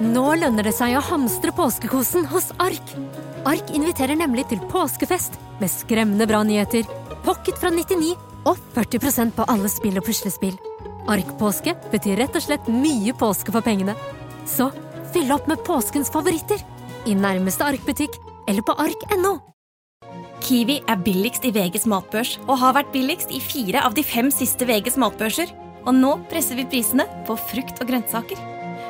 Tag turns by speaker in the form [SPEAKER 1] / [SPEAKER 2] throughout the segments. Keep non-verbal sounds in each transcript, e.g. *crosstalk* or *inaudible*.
[SPEAKER 1] Nå lønner det seg å hamstre påskekosen hos Ark. Ark inviterer nemlig til påskefest med skremmende bra nyheter, pocket fra 99 og 40 på alle spill og puslespill. Ark-påske betyr rett og slett mye påske for pengene. Så fyll opp med påskens favoritter i nærmeste Ark-butikk eller på ark.no.
[SPEAKER 2] Kiwi er billigst i VGs matbørs og har vært billigst i fire av de fem siste VGs matbørser. Og nå presser vi prisene på frukt og grønnsaker.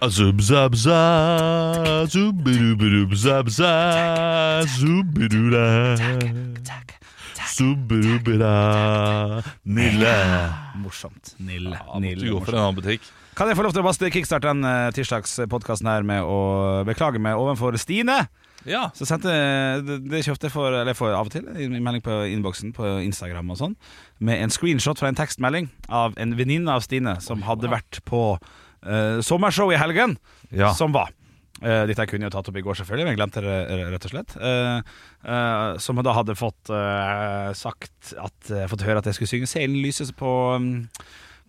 [SPEAKER 3] Azub, zab, za, zubirubiru, zab, za, zubirula. Subirubira, Nille.
[SPEAKER 4] Morsomt. Nille.
[SPEAKER 3] Ja, måtte
[SPEAKER 4] Nille
[SPEAKER 3] gå for en
[SPEAKER 4] morsomt.
[SPEAKER 3] annen butikk.
[SPEAKER 4] Kan jeg få lov til å bare kickstarte den eh, tirsdagspodkasten her med å beklage meg overfor Stine?
[SPEAKER 3] Ja,
[SPEAKER 4] Så sendte det, det kjøpte jeg for, eller jeg får av og til i i melding på innboksen på Instagram og sånn, med en screenshot fra en tekstmelding av en venninne av Stine som hadde vært på eh, sommershow i helgen,
[SPEAKER 3] Ja.
[SPEAKER 4] som var. eh, dette kunne jeg jo tatt opp i går, selvfølgelig, men jeg glemte det eh, rett og slett. Eh, eh, som da hadde fått eh, sagt at, eh, Fått høre at jeg skulle synge 'Seilen lyses' på mm,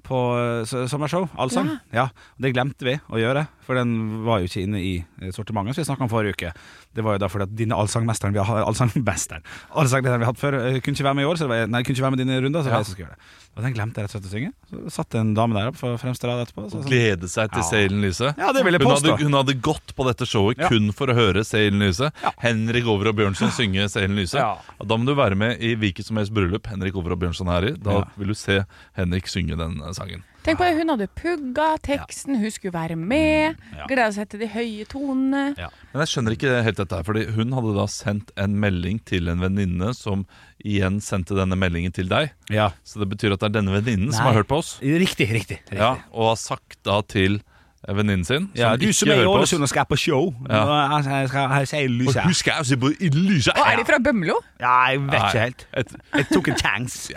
[SPEAKER 4] på eh, s- sommershow, allsang. Ja. Det glemte vi å gjøre, for den var jo ikke inne i eh, sortimentet som vi snakka om forrige uke. Det var jo da fordi at dine allsangmesteren vi har, allsangmesteren, allsanglederen vi har hatt før, eh, kunne ikke være med i år, så det var, nei, kunne ikke være med i dine runder, så det var jeg som skulle gjøre det. Og den glemte jeg rett og slett å synge. Så satt en dame der oppe på fremste rad etterpå. Så, sånn,
[SPEAKER 3] Glede seg til
[SPEAKER 4] Ja.
[SPEAKER 3] Seilen Lyse.
[SPEAKER 4] Ja, det vil jeg
[SPEAKER 3] hun,
[SPEAKER 4] påstå.
[SPEAKER 3] hadde, hun hadde gått på dette showet
[SPEAKER 4] Ja.
[SPEAKER 3] kun for å høre Seilen Lyse. Henrik Over og Bjørnson synge Seilen Lyse.
[SPEAKER 4] Ja.
[SPEAKER 3] Og Da må du være med i hvilket som helst bryllup Henrik Over og Bjørnson er i. Da
[SPEAKER 4] Ja.
[SPEAKER 3] vil du se Henrik synge den eh, sangen.
[SPEAKER 5] Tenk på det, hun hadde pugga teksten, hun skulle være med.
[SPEAKER 4] Ja.
[SPEAKER 5] Gleda seg til de høye tonene.
[SPEAKER 4] Ja.
[SPEAKER 3] Men jeg skjønner ikke helt dette her, fordi hun hadde da sendt en melding til en venninne, som igjen sendte denne meldingen til deg.
[SPEAKER 4] ja.
[SPEAKER 3] Så det betyr at det er denne venninnen som har
[SPEAKER 4] Nei.
[SPEAKER 3] hørt på oss,
[SPEAKER 4] Riktig, riktig. riktig.
[SPEAKER 3] ja, og har sagt da til eh, venninnen sin, som
[SPEAKER 4] Ja, du
[SPEAKER 3] ikke
[SPEAKER 4] som er i
[SPEAKER 3] hører på oss
[SPEAKER 4] Ålesund og skal på show.
[SPEAKER 3] Ja.
[SPEAKER 4] Nå er- Jeg skal jeg sier
[SPEAKER 3] Og
[SPEAKER 4] lyset.
[SPEAKER 3] husker jeg å se på i lyset!
[SPEAKER 5] Og er de fra Bømlo?
[SPEAKER 4] Ja, jeg vet
[SPEAKER 3] Nei.
[SPEAKER 4] ikke helt.
[SPEAKER 3] Et
[SPEAKER 4] Jeg tok en tanks.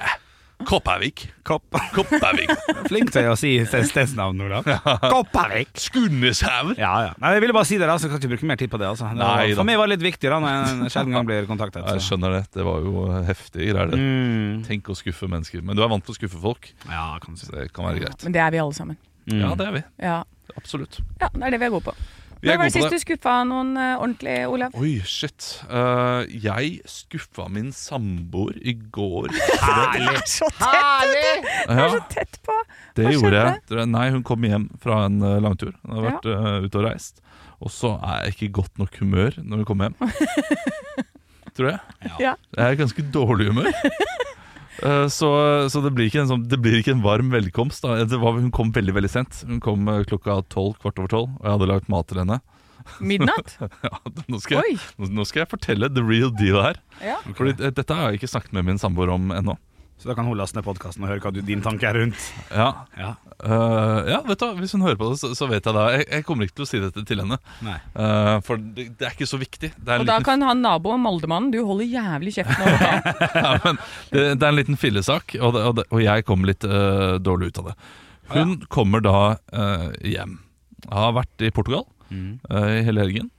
[SPEAKER 3] Kopervik.
[SPEAKER 4] Kopp.
[SPEAKER 3] Kopervik.
[SPEAKER 4] Flink til å si stedsnavn, Olav. Kopparvik.
[SPEAKER 3] Skunneshaugen.
[SPEAKER 4] Ja, ja. Nei, jeg ville bare si det, da, så jeg kan ikke bruke mer tid på det. Altså. Det var-
[SPEAKER 3] Nei da.
[SPEAKER 4] for meg var det litt viktig da når jeg en sjelden gang blir kontaktet.
[SPEAKER 3] Jeg
[SPEAKER 4] Så.
[SPEAKER 3] skjønner det. Det var jo heftige greier. det.
[SPEAKER 4] Mm.
[SPEAKER 3] Tenk å skuffe mennesker. Men du er vant til å skuffe folk.
[SPEAKER 4] Ja, kan du si.
[SPEAKER 3] Så det kan være greit.
[SPEAKER 5] Men det er vi alle sammen.
[SPEAKER 4] Mm.
[SPEAKER 3] Ja, det er vi.
[SPEAKER 5] Ja,
[SPEAKER 3] Absolutt.
[SPEAKER 5] ja det er det vi er gode på.
[SPEAKER 3] Vi
[SPEAKER 5] Når
[SPEAKER 3] er
[SPEAKER 5] var det
[SPEAKER 3] gode på
[SPEAKER 5] sist
[SPEAKER 3] det.
[SPEAKER 5] du skuffa noen eh, ordentlig, Olav?
[SPEAKER 3] Oi, shit. Eh, jeg skuffa min samboer i går. Herlig!
[SPEAKER 5] Så tett,
[SPEAKER 3] Ja,
[SPEAKER 5] tett på!
[SPEAKER 3] det
[SPEAKER 5] Hva
[SPEAKER 3] gjorde jeg.
[SPEAKER 5] skjedde?
[SPEAKER 3] Dere- Nei, hun kom hjem fra en eh, langtur. Hun har
[SPEAKER 5] Ja.
[SPEAKER 3] vært eh, ute og reist. Og så er jeg ikke i godt nok humør når hun kommer hjem.
[SPEAKER 5] *laughs*
[SPEAKER 3] Tror jeg.
[SPEAKER 5] Ja.
[SPEAKER 3] Jeg er i ganske dårlig
[SPEAKER 5] *laughs*
[SPEAKER 3] humør. Eh, Så, så det, blir ikke en sånn, det blir ikke en varm velkomst. Da. Det var, hun kom veldig veldig sent. Hun kom eh, klokka tolv, kvart over tolv, og jeg hadde lagt mat til henne. *laughs*
[SPEAKER 5] Midnatt?
[SPEAKER 3] Ja, nå, skal
[SPEAKER 5] Oi!
[SPEAKER 3] jeg, nå- nå skal jeg fortelle the real deal her.
[SPEAKER 5] Ja.
[SPEAKER 3] Fordi eh, Dette har jeg ikke snakket med min samboer om ennå.
[SPEAKER 4] så da kan hun laste ned podkasten og høre hva du, din tanke er rundt.
[SPEAKER 3] Ja,
[SPEAKER 4] Ja.
[SPEAKER 3] eh, ja vet du, hva, Hvis hun hører på det, så, så vet jeg det. Jeg, jeg kommer ikke til å si dette til henne.
[SPEAKER 4] Nei.
[SPEAKER 3] Eh, for det, det er ikke så viktig. Det er en
[SPEAKER 5] Og da
[SPEAKER 3] liten
[SPEAKER 5] kan han naboen, Moldemannen, du holder jævlig kjeft nå. Olav.
[SPEAKER 3] *laughs* ja, men det, det er en liten fillesak, og, det, og, det, og jeg kom litt eh, dårlig ut av det. Hun kommer da eh, hjem. Har vært i Portugal eh, i hele helgen.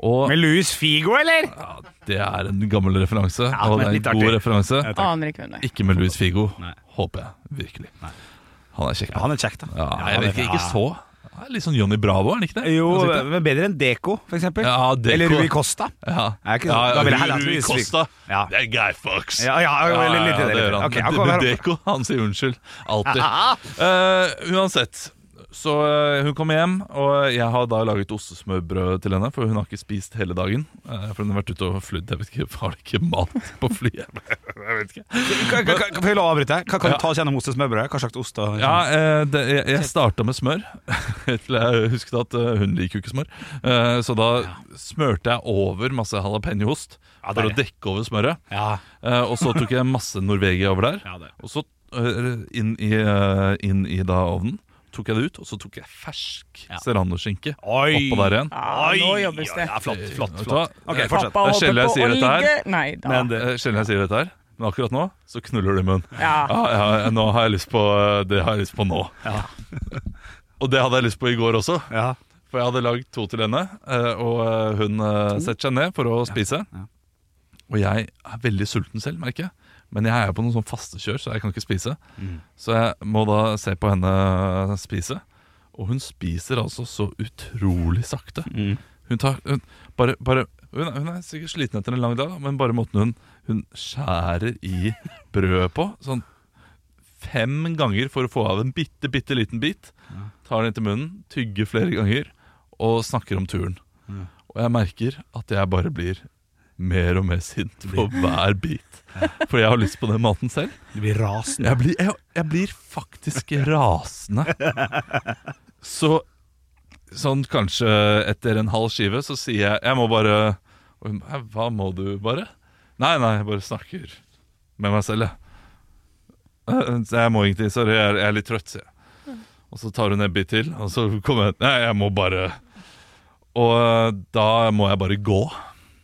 [SPEAKER 3] Og
[SPEAKER 4] Mm. Med Louis Figo, eller?
[SPEAKER 3] ja, det er en gammel referanse,
[SPEAKER 4] Ja,
[SPEAKER 3] og
[SPEAKER 4] men
[SPEAKER 3] det er en
[SPEAKER 4] litt
[SPEAKER 3] god
[SPEAKER 4] artig.
[SPEAKER 3] referanse.
[SPEAKER 4] Ja, takk.
[SPEAKER 5] Aner ikke hvem det er.
[SPEAKER 3] Ikke med Louis Figo,
[SPEAKER 4] Nei.
[SPEAKER 3] håper jeg virkelig.
[SPEAKER 4] Nei.
[SPEAKER 3] Han er kjekk.
[SPEAKER 4] Ja, han er kjekk, da.
[SPEAKER 3] ja,
[SPEAKER 4] Ja,
[SPEAKER 3] jeg
[SPEAKER 4] han er-
[SPEAKER 3] vet ikke, ikke
[SPEAKER 4] ja.
[SPEAKER 3] så. Han er Litt sånn Johnny Bravo, er han ikke det?
[SPEAKER 4] Jo,
[SPEAKER 3] Han sitter-
[SPEAKER 4] men bedre enn Deco, for eksempel.
[SPEAKER 3] Ja, Deco.
[SPEAKER 4] Eller Rui Costa.
[SPEAKER 3] ja.
[SPEAKER 4] Er ikke
[SPEAKER 3] ja,
[SPEAKER 4] sånn. Da ville jeg
[SPEAKER 3] Rui-
[SPEAKER 4] heller hatt
[SPEAKER 3] Rui
[SPEAKER 4] Louis Figo.
[SPEAKER 3] Costa.
[SPEAKER 4] Ja.
[SPEAKER 3] Det er Guy Fox.
[SPEAKER 4] Ja, ja, jo, litt, litt, i det,
[SPEAKER 3] det gjør
[SPEAKER 4] litt.
[SPEAKER 3] han.
[SPEAKER 4] Ok, han
[SPEAKER 3] Men-
[SPEAKER 4] kommer
[SPEAKER 3] men
[SPEAKER 4] her.
[SPEAKER 3] Deko, han sier unnskyld. Alltid. Eh, uansett. Så eh, hun kommer hjem, og jeg har da laget ostesmørbrød til henne. For hun har ikke spist hele dagen. eh, for hun har vært ute og flydd. Jeg vet ikke, Har de ikke mat på flyet? Jeg vet ikke.
[SPEAKER 4] Kan- kan- kan- Får jeg lov å avbryte? Kan, kan du ta oss gjennom ostes med brød? Hva slags ost? Og,
[SPEAKER 3] *laughs* Ja, eh, det, jeg, jeg starta med smør. *laughs* Til jeg husket at eh, hun liker jo ikke smør. Eh, så da smørte jeg over masse jalapeñoost
[SPEAKER 4] Ja,
[SPEAKER 3] for å
[SPEAKER 4] deilig.
[SPEAKER 3] dekke over smøret.
[SPEAKER 4] ja.
[SPEAKER 3] Eh, og så tok jeg masse Norvegia over der.
[SPEAKER 4] Ja, det.
[SPEAKER 3] Og så eh, inn, i, eh, inn i da ovnen. tok jeg det ut, og så tok jeg fersk
[SPEAKER 4] Ja.
[SPEAKER 3] serranoskinke
[SPEAKER 4] Oi!
[SPEAKER 3] oppå der igjen.
[SPEAKER 5] Ja, nå jobbes det.
[SPEAKER 4] Ja, flott, flott,
[SPEAKER 3] Vet du
[SPEAKER 4] flott.
[SPEAKER 3] hva?
[SPEAKER 4] Ok, fortsett.
[SPEAKER 5] Pappa
[SPEAKER 3] Det er sjelden
[SPEAKER 5] holder
[SPEAKER 3] jeg
[SPEAKER 5] på
[SPEAKER 3] sier
[SPEAKER 5] å
[SPEAKER 3] dette her,
[SPEAKER 5] ligge. Nei da.
[SPEAKER 3] Men det, sjelden jeg sier dette her, men akkurat nå så knuller det i munnen.
[SPEAKER 5] ja.
[SPEAKER 3] Ja, ja, ja, nå har jeg lyst på eh, det har jeg lyst på nå.
[SPEAKER 4] Ja.
[SPEAKER 3] *laughs* og det hadde jeg lyst på i går også,
[SPEAKER 4] Ja.
[SPEAKER 3] for jeg hadde lagd to til henne. eh, Og eh, hun eh, setter seg ned for å spise.
[SPEAKER 4] ja.
[SPEAKER 3] Og jeg er veldig sulten selv, merker jeg. Men jeg er på noen sånn fastekjør, så jeg kan ikke spise.
[SPEAKER 4] Mm.
[SPEAKER 3] Så jeg må da se på henne eh, spise. Og hun spiser altså så utrolig sakte.
[SPEAKER 4] Mm.
[SPEAKER 3] Hun tar hun, bare, bare, hun, er- hun er sikkert sliten etter en lang dag, da, men bare måten hun, hun skjærer i brødet på Sånn fem ganger for å få av en bitte, bitte liten bit. Tar den inn til munnen, tygger flere ganger og snakker om turen.
[SPEAKER 4] Ja.
[SPEAKER 3] Og jeg merker at jeg bare blir mer og mer sint på hver bit. Fordi jeg har lyst på den maten selv.
[SPEAKER 4] Du blir rasende.
[SPEAKER 3] Jeg blir, jeg, jeg blir faktisk rasende. Så sånn kanskje etter en halv skive så sier jeg Jeg må bare Og hun, «Hæ, Hva må du bare? Nei, nei, jeg bare snakker med meg selv, jeg. Eh, så Jeg må ingenting. Sorry, jeg er, jeg er litt trøtt, sier jeg. Og så tar hun en bit til, og så kommer jeg Nei, jeg må bare Og eh, da må jeg bare gå.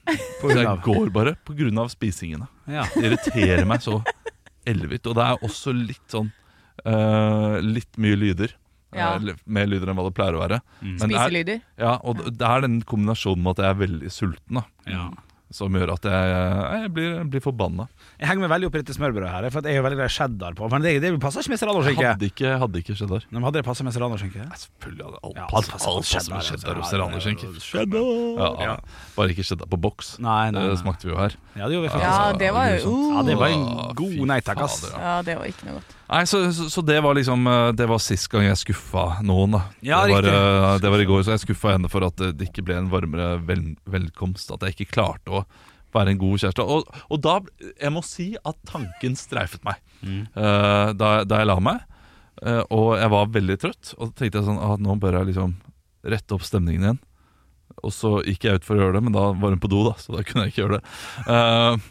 [SPEAKER 4] På
[SPEAKER 3] Så
[SPEAKER 4] grunn
[SPEAKER 3] jeg
[SPEAKER 4] av-
[SPEAKER 3] går bare på grunn av spisingene.
[SPEAKER 4] Ja.
[SPEAKER 3] Det irriterer meg så ellevilt. Og det er også litt sånn eh, Litt mye lyder.
[SPEAKER 5] Ja.
[SPEAKER 3] Eh, litt mer lyder enn hva det pleier å være.
[SPEAKER 4] Mm.
[SPEAKER 3] Men det er,
[SPEAKER 5] Spiselyder.
[SPEAKER 3] ja, og det- det er den kombinasjonen med at jeg er veldig sulten, da,
[SPEAKER 4] Ja.
[SPEAKER 3] som gjør at jeg, eh, jeg blir, blir forbanna.
[SPEAKER 4] Jeg henger meg veldig opp i dette smørbrødet her, for at jeg er jo veldig glad i cheddar på. Men det, det passer ikke med serranoskinke.
[SPEAKER 3] Hadde ikke, hadde ikke skjedd der.
[SPEAKER 4] Nei, men Hadde det passet med serranoskinke?
[SPEAKER 3] Nei, Selvfølgelig hadde alt,
[SPEAKER 4] Ja,
[SPEAKER 3] alt,
[SPEAKER 4] alt-
[SPEAKER 3] alt,
[SPEAKER 4] alt
[SPEAKER 3] passet med
[SPEAKER 4] cheddar,
[SPEAKER 3] cheddar og
[SPEAKER 4] altså.
[SPEAKER 3] serranoskinker.
[SPEAKER 4] Cheddar!
[SPEAKER 3] Ja, ja. Bare ikke cheddar på boks.
[SPEAKER 4] Nei, nei,
[SPEAKER 3] Det
[SPEAKER 4] nei.
[SPEAKER 3] smakte vi jo her.
[SPEAKER 4] Ja, det gjorde vi faktisk.
[SPEAKER 5] Ja, det var
[SPEAKER 3] det er
[SPEAKER 5] jo
[SPEAKER 4] Ja, det
[SPEAKER 5] uh.
[SPEAKER 4] var
[SPEAKER 3] Åh,
[SPEAKER 4] en
[SPEAKER 3] fy
[SPEAKER 4] god nei takk, ass.
[SPEAKER 3] fader,
[SPEAKER 5] Ja, det var ikke noe godt.
[SPEAKER 3] Nei, så, så, så det var liksom eh, Det var sist gang jeg skuffa noen da
[SPEAKER 4] Ja,
[SPEAKER 3] det, var,
[SPEAKER 4] riktig.
[SPEAKER 3] eh, det var i går, så jeg skuffa henne for at eh, det ikke ble en varmere vel, velkomst At jeg ikke klarte å være en god kjæreste Og, og da, jeg må si at tanken streifet meg
[SPEAKER 4] Mm.
[SPEAKER 3] eh, da, da jeg la meg eh, Og jeg var veldig trøtt Og da tenkte jeg sånn, ah, nå bør jeg liksom rette opp stemningen igjen Og så gikk jeg ut for å gjøre det, men da var hun på do da Så da kunne jeg ikke gjøre det Eh,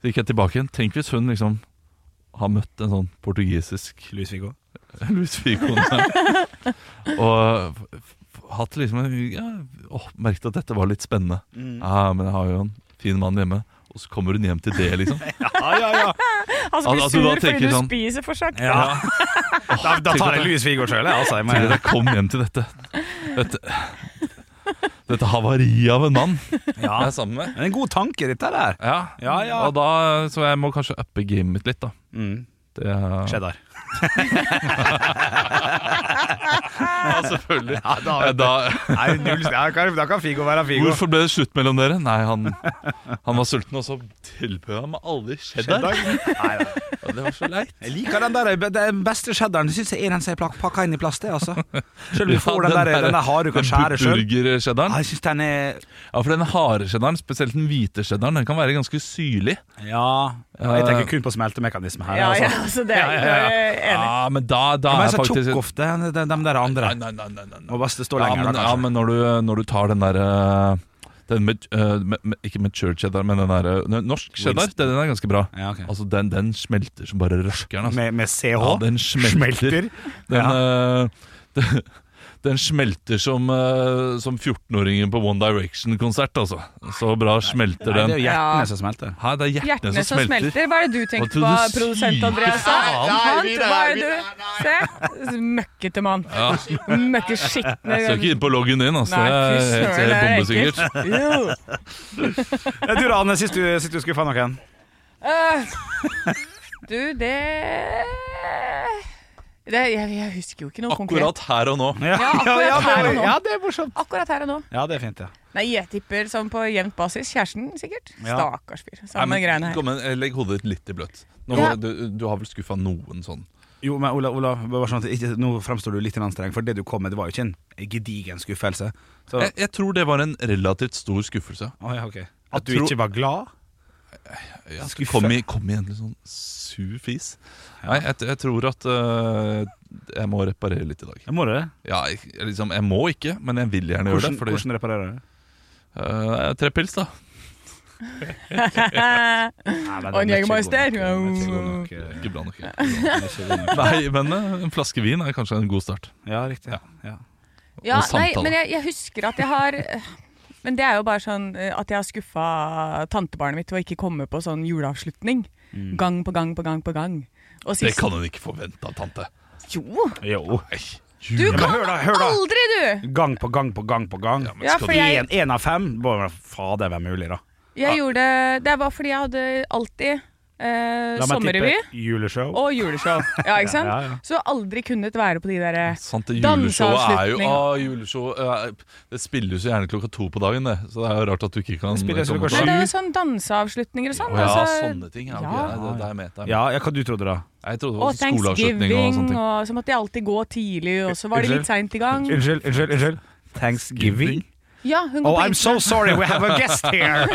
[SPEAKER 3] Så gikk jeg tilbake igjen Tenk hvis hun liksom har møtt en sånn portugisisk *laughs*
[SPEAKER 4] Louis Viggo.
[SPEAKER 3] Louis Figo-kone. og f- f- hatt liksom en- ja, åh, Merket at dette var litt spennende. Ja, men jeg har jo en fin mann hjemme. Og så kommer hun hjem til det, *laughs* liksom.
[SPEAKER 4] Ja, ja, ja.
[SPEAKER 5] Han som
[SPEAKER 3] Al-
[SPEAKER 5] blir
[SPEAKER 3] *laughs* altså, da
[SPEAKER 5] sur fordi
[SPEAKER 3] tenker
[SPEAKER 5] du
[SPEAKER 3] sånn-
[SPEAKER 5] spiser for sakte.
[SPEAKER 4] Ja. Da, da tar jeg Louis Viggo sjøl, jeg. Altså, jeg må,
[SPEAKER 3] Tenk at jeg kom hjem til dette. Dette, dette havariet av en mann
[SPEAKER 4] ja.
[SPEAKER 3] jeg er sammen med.
[SPEAKER 4] Men en god tanke, dette der.
[SPEAKER 3] Ja.
[SPEAKER 4] Ja, ja.
[SPEAKER 3] Og da, så jeg må kanskje uppe gamet mitt litt, da.
[SPEAKER 4] Mm.
[SPEAKER 3] Det, ja,
[SPEAKER 4] Cheddar.
[SPEAKER 3] *laughs* selvfølgelig.
[SPEAKER 4] Ja, da,
[SPEAKER 3] Eh, Da,
[SPEAKER 4] Nei, null, da, kan, da kan Figo være Figo.
[SPEAKER 3] *laughs* hvorfor ble det slutt mellom dere? Nei, han, han var sulten, og så tilbød han meg aldri cheddar.
[SPEAKER 4] Cheddar? Nei, nei.
[SPEAKER 3] Og det var så leit.
[SPEAKER 4] Jeg liker den der Den beste cheddaren syns jeg er den som er plak- pakka inn i plast, det, altså. Selv om du
[SPEAKER 3] Ja,
[SPEAKER 4] får den der, den der harde du kan skjære sjøl.
[SPEAKER 3] burgercheddaren.
[SPEAKER 4] Ja, jeg syns den er
[SPEAKER 3] Ja, for den harde cheddaren, spesielt den hvite cheddaren, den kan være ganske syrlig.
[SPEAKER 4] Ja. Jeg tenker kun på smeltemekanisme her.
[SPEAKER 5] Ja, ja,
[SPEAKER 4] Altså.
[SPEAKER 5] altså det er jeg er enig.
[SPEAKER 3] Ja, men da, da
[SPEAKER 4] De er
[SPEAKER 3] er
[SPEAKER 4] så
[SPEAKER 3] faktisk
[SPEAKER 4] tjukke ofte, de, de der andre.
[SPEAKER 3] Nei, nei, nei, nei, nei, nei.
[SPEAKER 4] Må best det står
[SPEAKER 3] Ja,
[SPEAKER 4] lenger,
[SPEAKER 3] men,
[SPEAKER 4] da,
[SPEAKER 3] ja,
[SPEAKER 4] kanskje.
[SPEAKER 3] men når, du, når du tar den derre den med, eh, med, med, ikke mature cheddar, men den der, eh, norsk cheddar, den, den er ganske bra.
[SPEAKER 4] Ja, ok.
[SPEAKER 3] Altså, den, den smelter som bare raskeren. Altså.
[SPEAKER 4] Med, med CH?
[SPEAKER 3] Ja, den smelter. Den, eh, *laughs* den, den smelter som, eh, som 14-åringen på One Direction-konsert, altså. Så bra smelter
[SPEAKER 4] Nei, det er
[SPEAKER 3] den.
[SPEAKER 4] jo
[SPEAKER 5] Ja.
[SPEAKER 4] hjertene som smelter.
[SPEAKER 3] Hæ, det er hjertene,
[SPEAKER 5] Hjertene som smelter. Hva er det du
[SPEAKER 3] Hva
[SPEAKER 5] tenker
[SPEAKER 3] tror
[SPEAKER 5] på,
[SPEAKER 3] du
[SPEAKER 5] produsent
[SPEAKER 3] syke *laughs*
[SPEAKER 5] Andreas?
[SPEAKER 3] faen? altså.
[SPEAKER 5] Han, Hva er det du? Se, møkkete mann.
[SPEAKER 3] Ja.
[SPEAKER 5] Møkkeskitne.
[SPEAKER 3] Skal ikke inn på loggen din, altså.
[SPEAKER 5] Nei, fy
[SPEAKER 3] det er
[SPEAKER 5] søren,
[SPEAKER 3] helt- helt
[SPEAKER 5] det er
[SPEAKER 3] bombesikkert. *laughs*
[SPEAKER 5] Jo.
[SPEAKER 4] Ja, Du da, Anne, sist du, sist du skuffa noen?
[SPEAKER 5] Eh, Du, det det, jeg, jeg husker jo ikke noe konkret.
[SPEAKER 3] Akkurat her og nå.
[SPEAKER 5] Ja, akkurat her og nå.
[SPEAKER 4] ja, det er morsomt.
[SPEAKER 5] Akkurat her og nå.
[SPEAKER 4] Ja, det er fint, ja.
[SPEAKER 5] Nei, jeg tipper sånn på jevnt basis. Kjæresten, sikkert.
[SPEAKER 4] Ja.
[SPEAKER 5] Stakkars fyr.
[SPEAKER 3] Nei,
[SPEAKER 5] Samme
[SPEAKER 3] men,
[SPEAKER 5] greiene her.
[SPEAKER 3] kom igjen, eh, legg hodet ditt litt i bløtt. Nå,
[SPEAKER 5] Ja.
[SPEAKER 3] du, du har vel skuffa noen sånn?
[SPEAKER 4] Jo, men Olav, Olav bare sånn at ikke, nå framstår du litt grann streng, for det du kom med, det var jo ikke en gedigen skuffelse. Så,
[SPEAKER 3] Jeg, jeg tror det var en relativt stor skuffelse.
[SPEAKER 4] Å, ja, ok. Eh, At du
[SPEAKER 3] tror-
[SPEAKER 4] ikke var glad?
[SPEAKER 3] Ja, det
[SPEAKER 4] Skuffe.
[SPEAKER 3] Kom, i, kom igjen, litt sånn sur fis. Nei, jeg, jeg tror at øh, jeg må reparere litt i dag.
[SPEAKER 4] Ja, må du det?
[SPEAKER 3] Ja, jeg, jeg liksom, jeg må ikke, men jeg vil gjerne gjøre
[SPEAKER 4] Hvordan,
[SPEAKER 3] det. Fordi,
[SPEAKER 4] hvordan reparerer du det?
[SPEAKER 3] øh, tre pils, da.
[SPEAKER 5] *laughs*
[SPEAKER 4] Nei, den-
[SPEAKER 5] Og en
[SPEAKER 4] den er ikke
[SPEAKER 5] Jägermeister.
[SPEAKER 4] god nok, den er ikke god nok,
[SPEAKER 5] *laughs*
[SPEAKER 4] eh,
[SPEAKER 3] Ikke bra nok.
[SPEAKER 4] den er ikke god nok.
[SPEAKER 3] *laughs* Nei, men eh, en flaske vin er kanskje en god start.
[SPEAKER 4] Ja, riktig. Ja. Ja.
[SPEAKER 5] Ja,
[SPEAKER 3] Og
[SPEAKER 5] nei,
[SPEAKER 3] samtale.
[SPEAKER 5] men jeg, jeg husker at jeg har eh, Men det er jo bare sånn eh, at jeg har skuffa tantebarnet mitt til å ikke komme på sånn juleavslutning.
[SPEAKER 3] Mm.
[SPEAKER 5] Gang på gang på gang på gang. Og
[SPEAKER 3] Det
[SPEAKER 5] sist
[SPEAKER 3] kan hun ikke forvente av tante.
[SPEAKER 5] Jo!
[SPEAKER 4] Jo.
[SPEAKER 5] Du
[SPEAKER 4] Ja, men
[SPEAKER 5] kan
[SPEAKER 4] hør da, hør da.
[SPEAKER 5] aldri, du!
[SPEAKER 4] Gang på gang på gang på gang.
[SPEAKER 5] Ja,
[SPEAKER 3] skal
[SPEAKER 5] for
[SPEAKER 3] du-
[SPEAKER 5] jeg,
[SPEAKER 4] En, en av fem må jo fader være mulig, da.
[SPEAKER 5] jeg gjorde Det var fordi jeg hadde alltid eh,
[SPEAKER 4] La meg
[SPEAKER 5] sommerrevy
[SPEAKER 4] tippe juleshow.
[SPEAKER 5] og
[SPEAKER 4] *laughs*
[SPEAKER 5] juleshow. Ja, ikke sant?
[SPEAKER 4] Ja, ja, ja.
[SPEAKER 5] Så aldri kunnet være på de eh, derre
[SPEAKER 3] Sant, det juleshowet er jo
[SPEAKER 5] Danseavslutning.
[SPEAKER 3] ah, juleshow, eh, Det spilles jo gjerne klokka to på dagen, det. Så det er jo rart at du ikke kan
[SPEAKER 4] Det spilles jo
[SPEAKER 3] komme på
[SPEAKER 4] klokka
[SPEAKER 5] Nei,
[SPEAKER 3] det.
[SPEAKER 5] det er jo sånn danseavslutninger og sånn.
[SPEAKER 3] Å ja,
[SPEAKER 5] altså-
[SPEAKER 3] sånne ting. Ja, ok,
[SPEAKER 5] Ja.
[SPEAKER 3] nei, det, det er med, det er med.
[SPEAKER 4] Ja, ja, hva du trodde da?
[SPEAKER 3] Jeg trodde det
[SPEAKER 5] Og
[SPEAKER 3] var sånn skoleavslutning og sånne
[SPEAKER 5] thanksgiving,
[SPEAKER 3] ting.
[SPEAKER 5] og så måtte jeg alltid gå tidlig, og så var det
[SPEAKER 4] Unnskyld?
[SPEAKER 5] litt seint i gang.
[SPEAKER 4] Unnskyld, unnskyld. unnskyld Thanksgiving?
[SPEAKER 5] Ja, hun går
[SPEAKER 4] Oh,
[SPEAKER 5] på
[SPEAKER 4] I'm so
[SPEAKER 5] internet.
[SPEAKER 4] sorry, we have a guest here!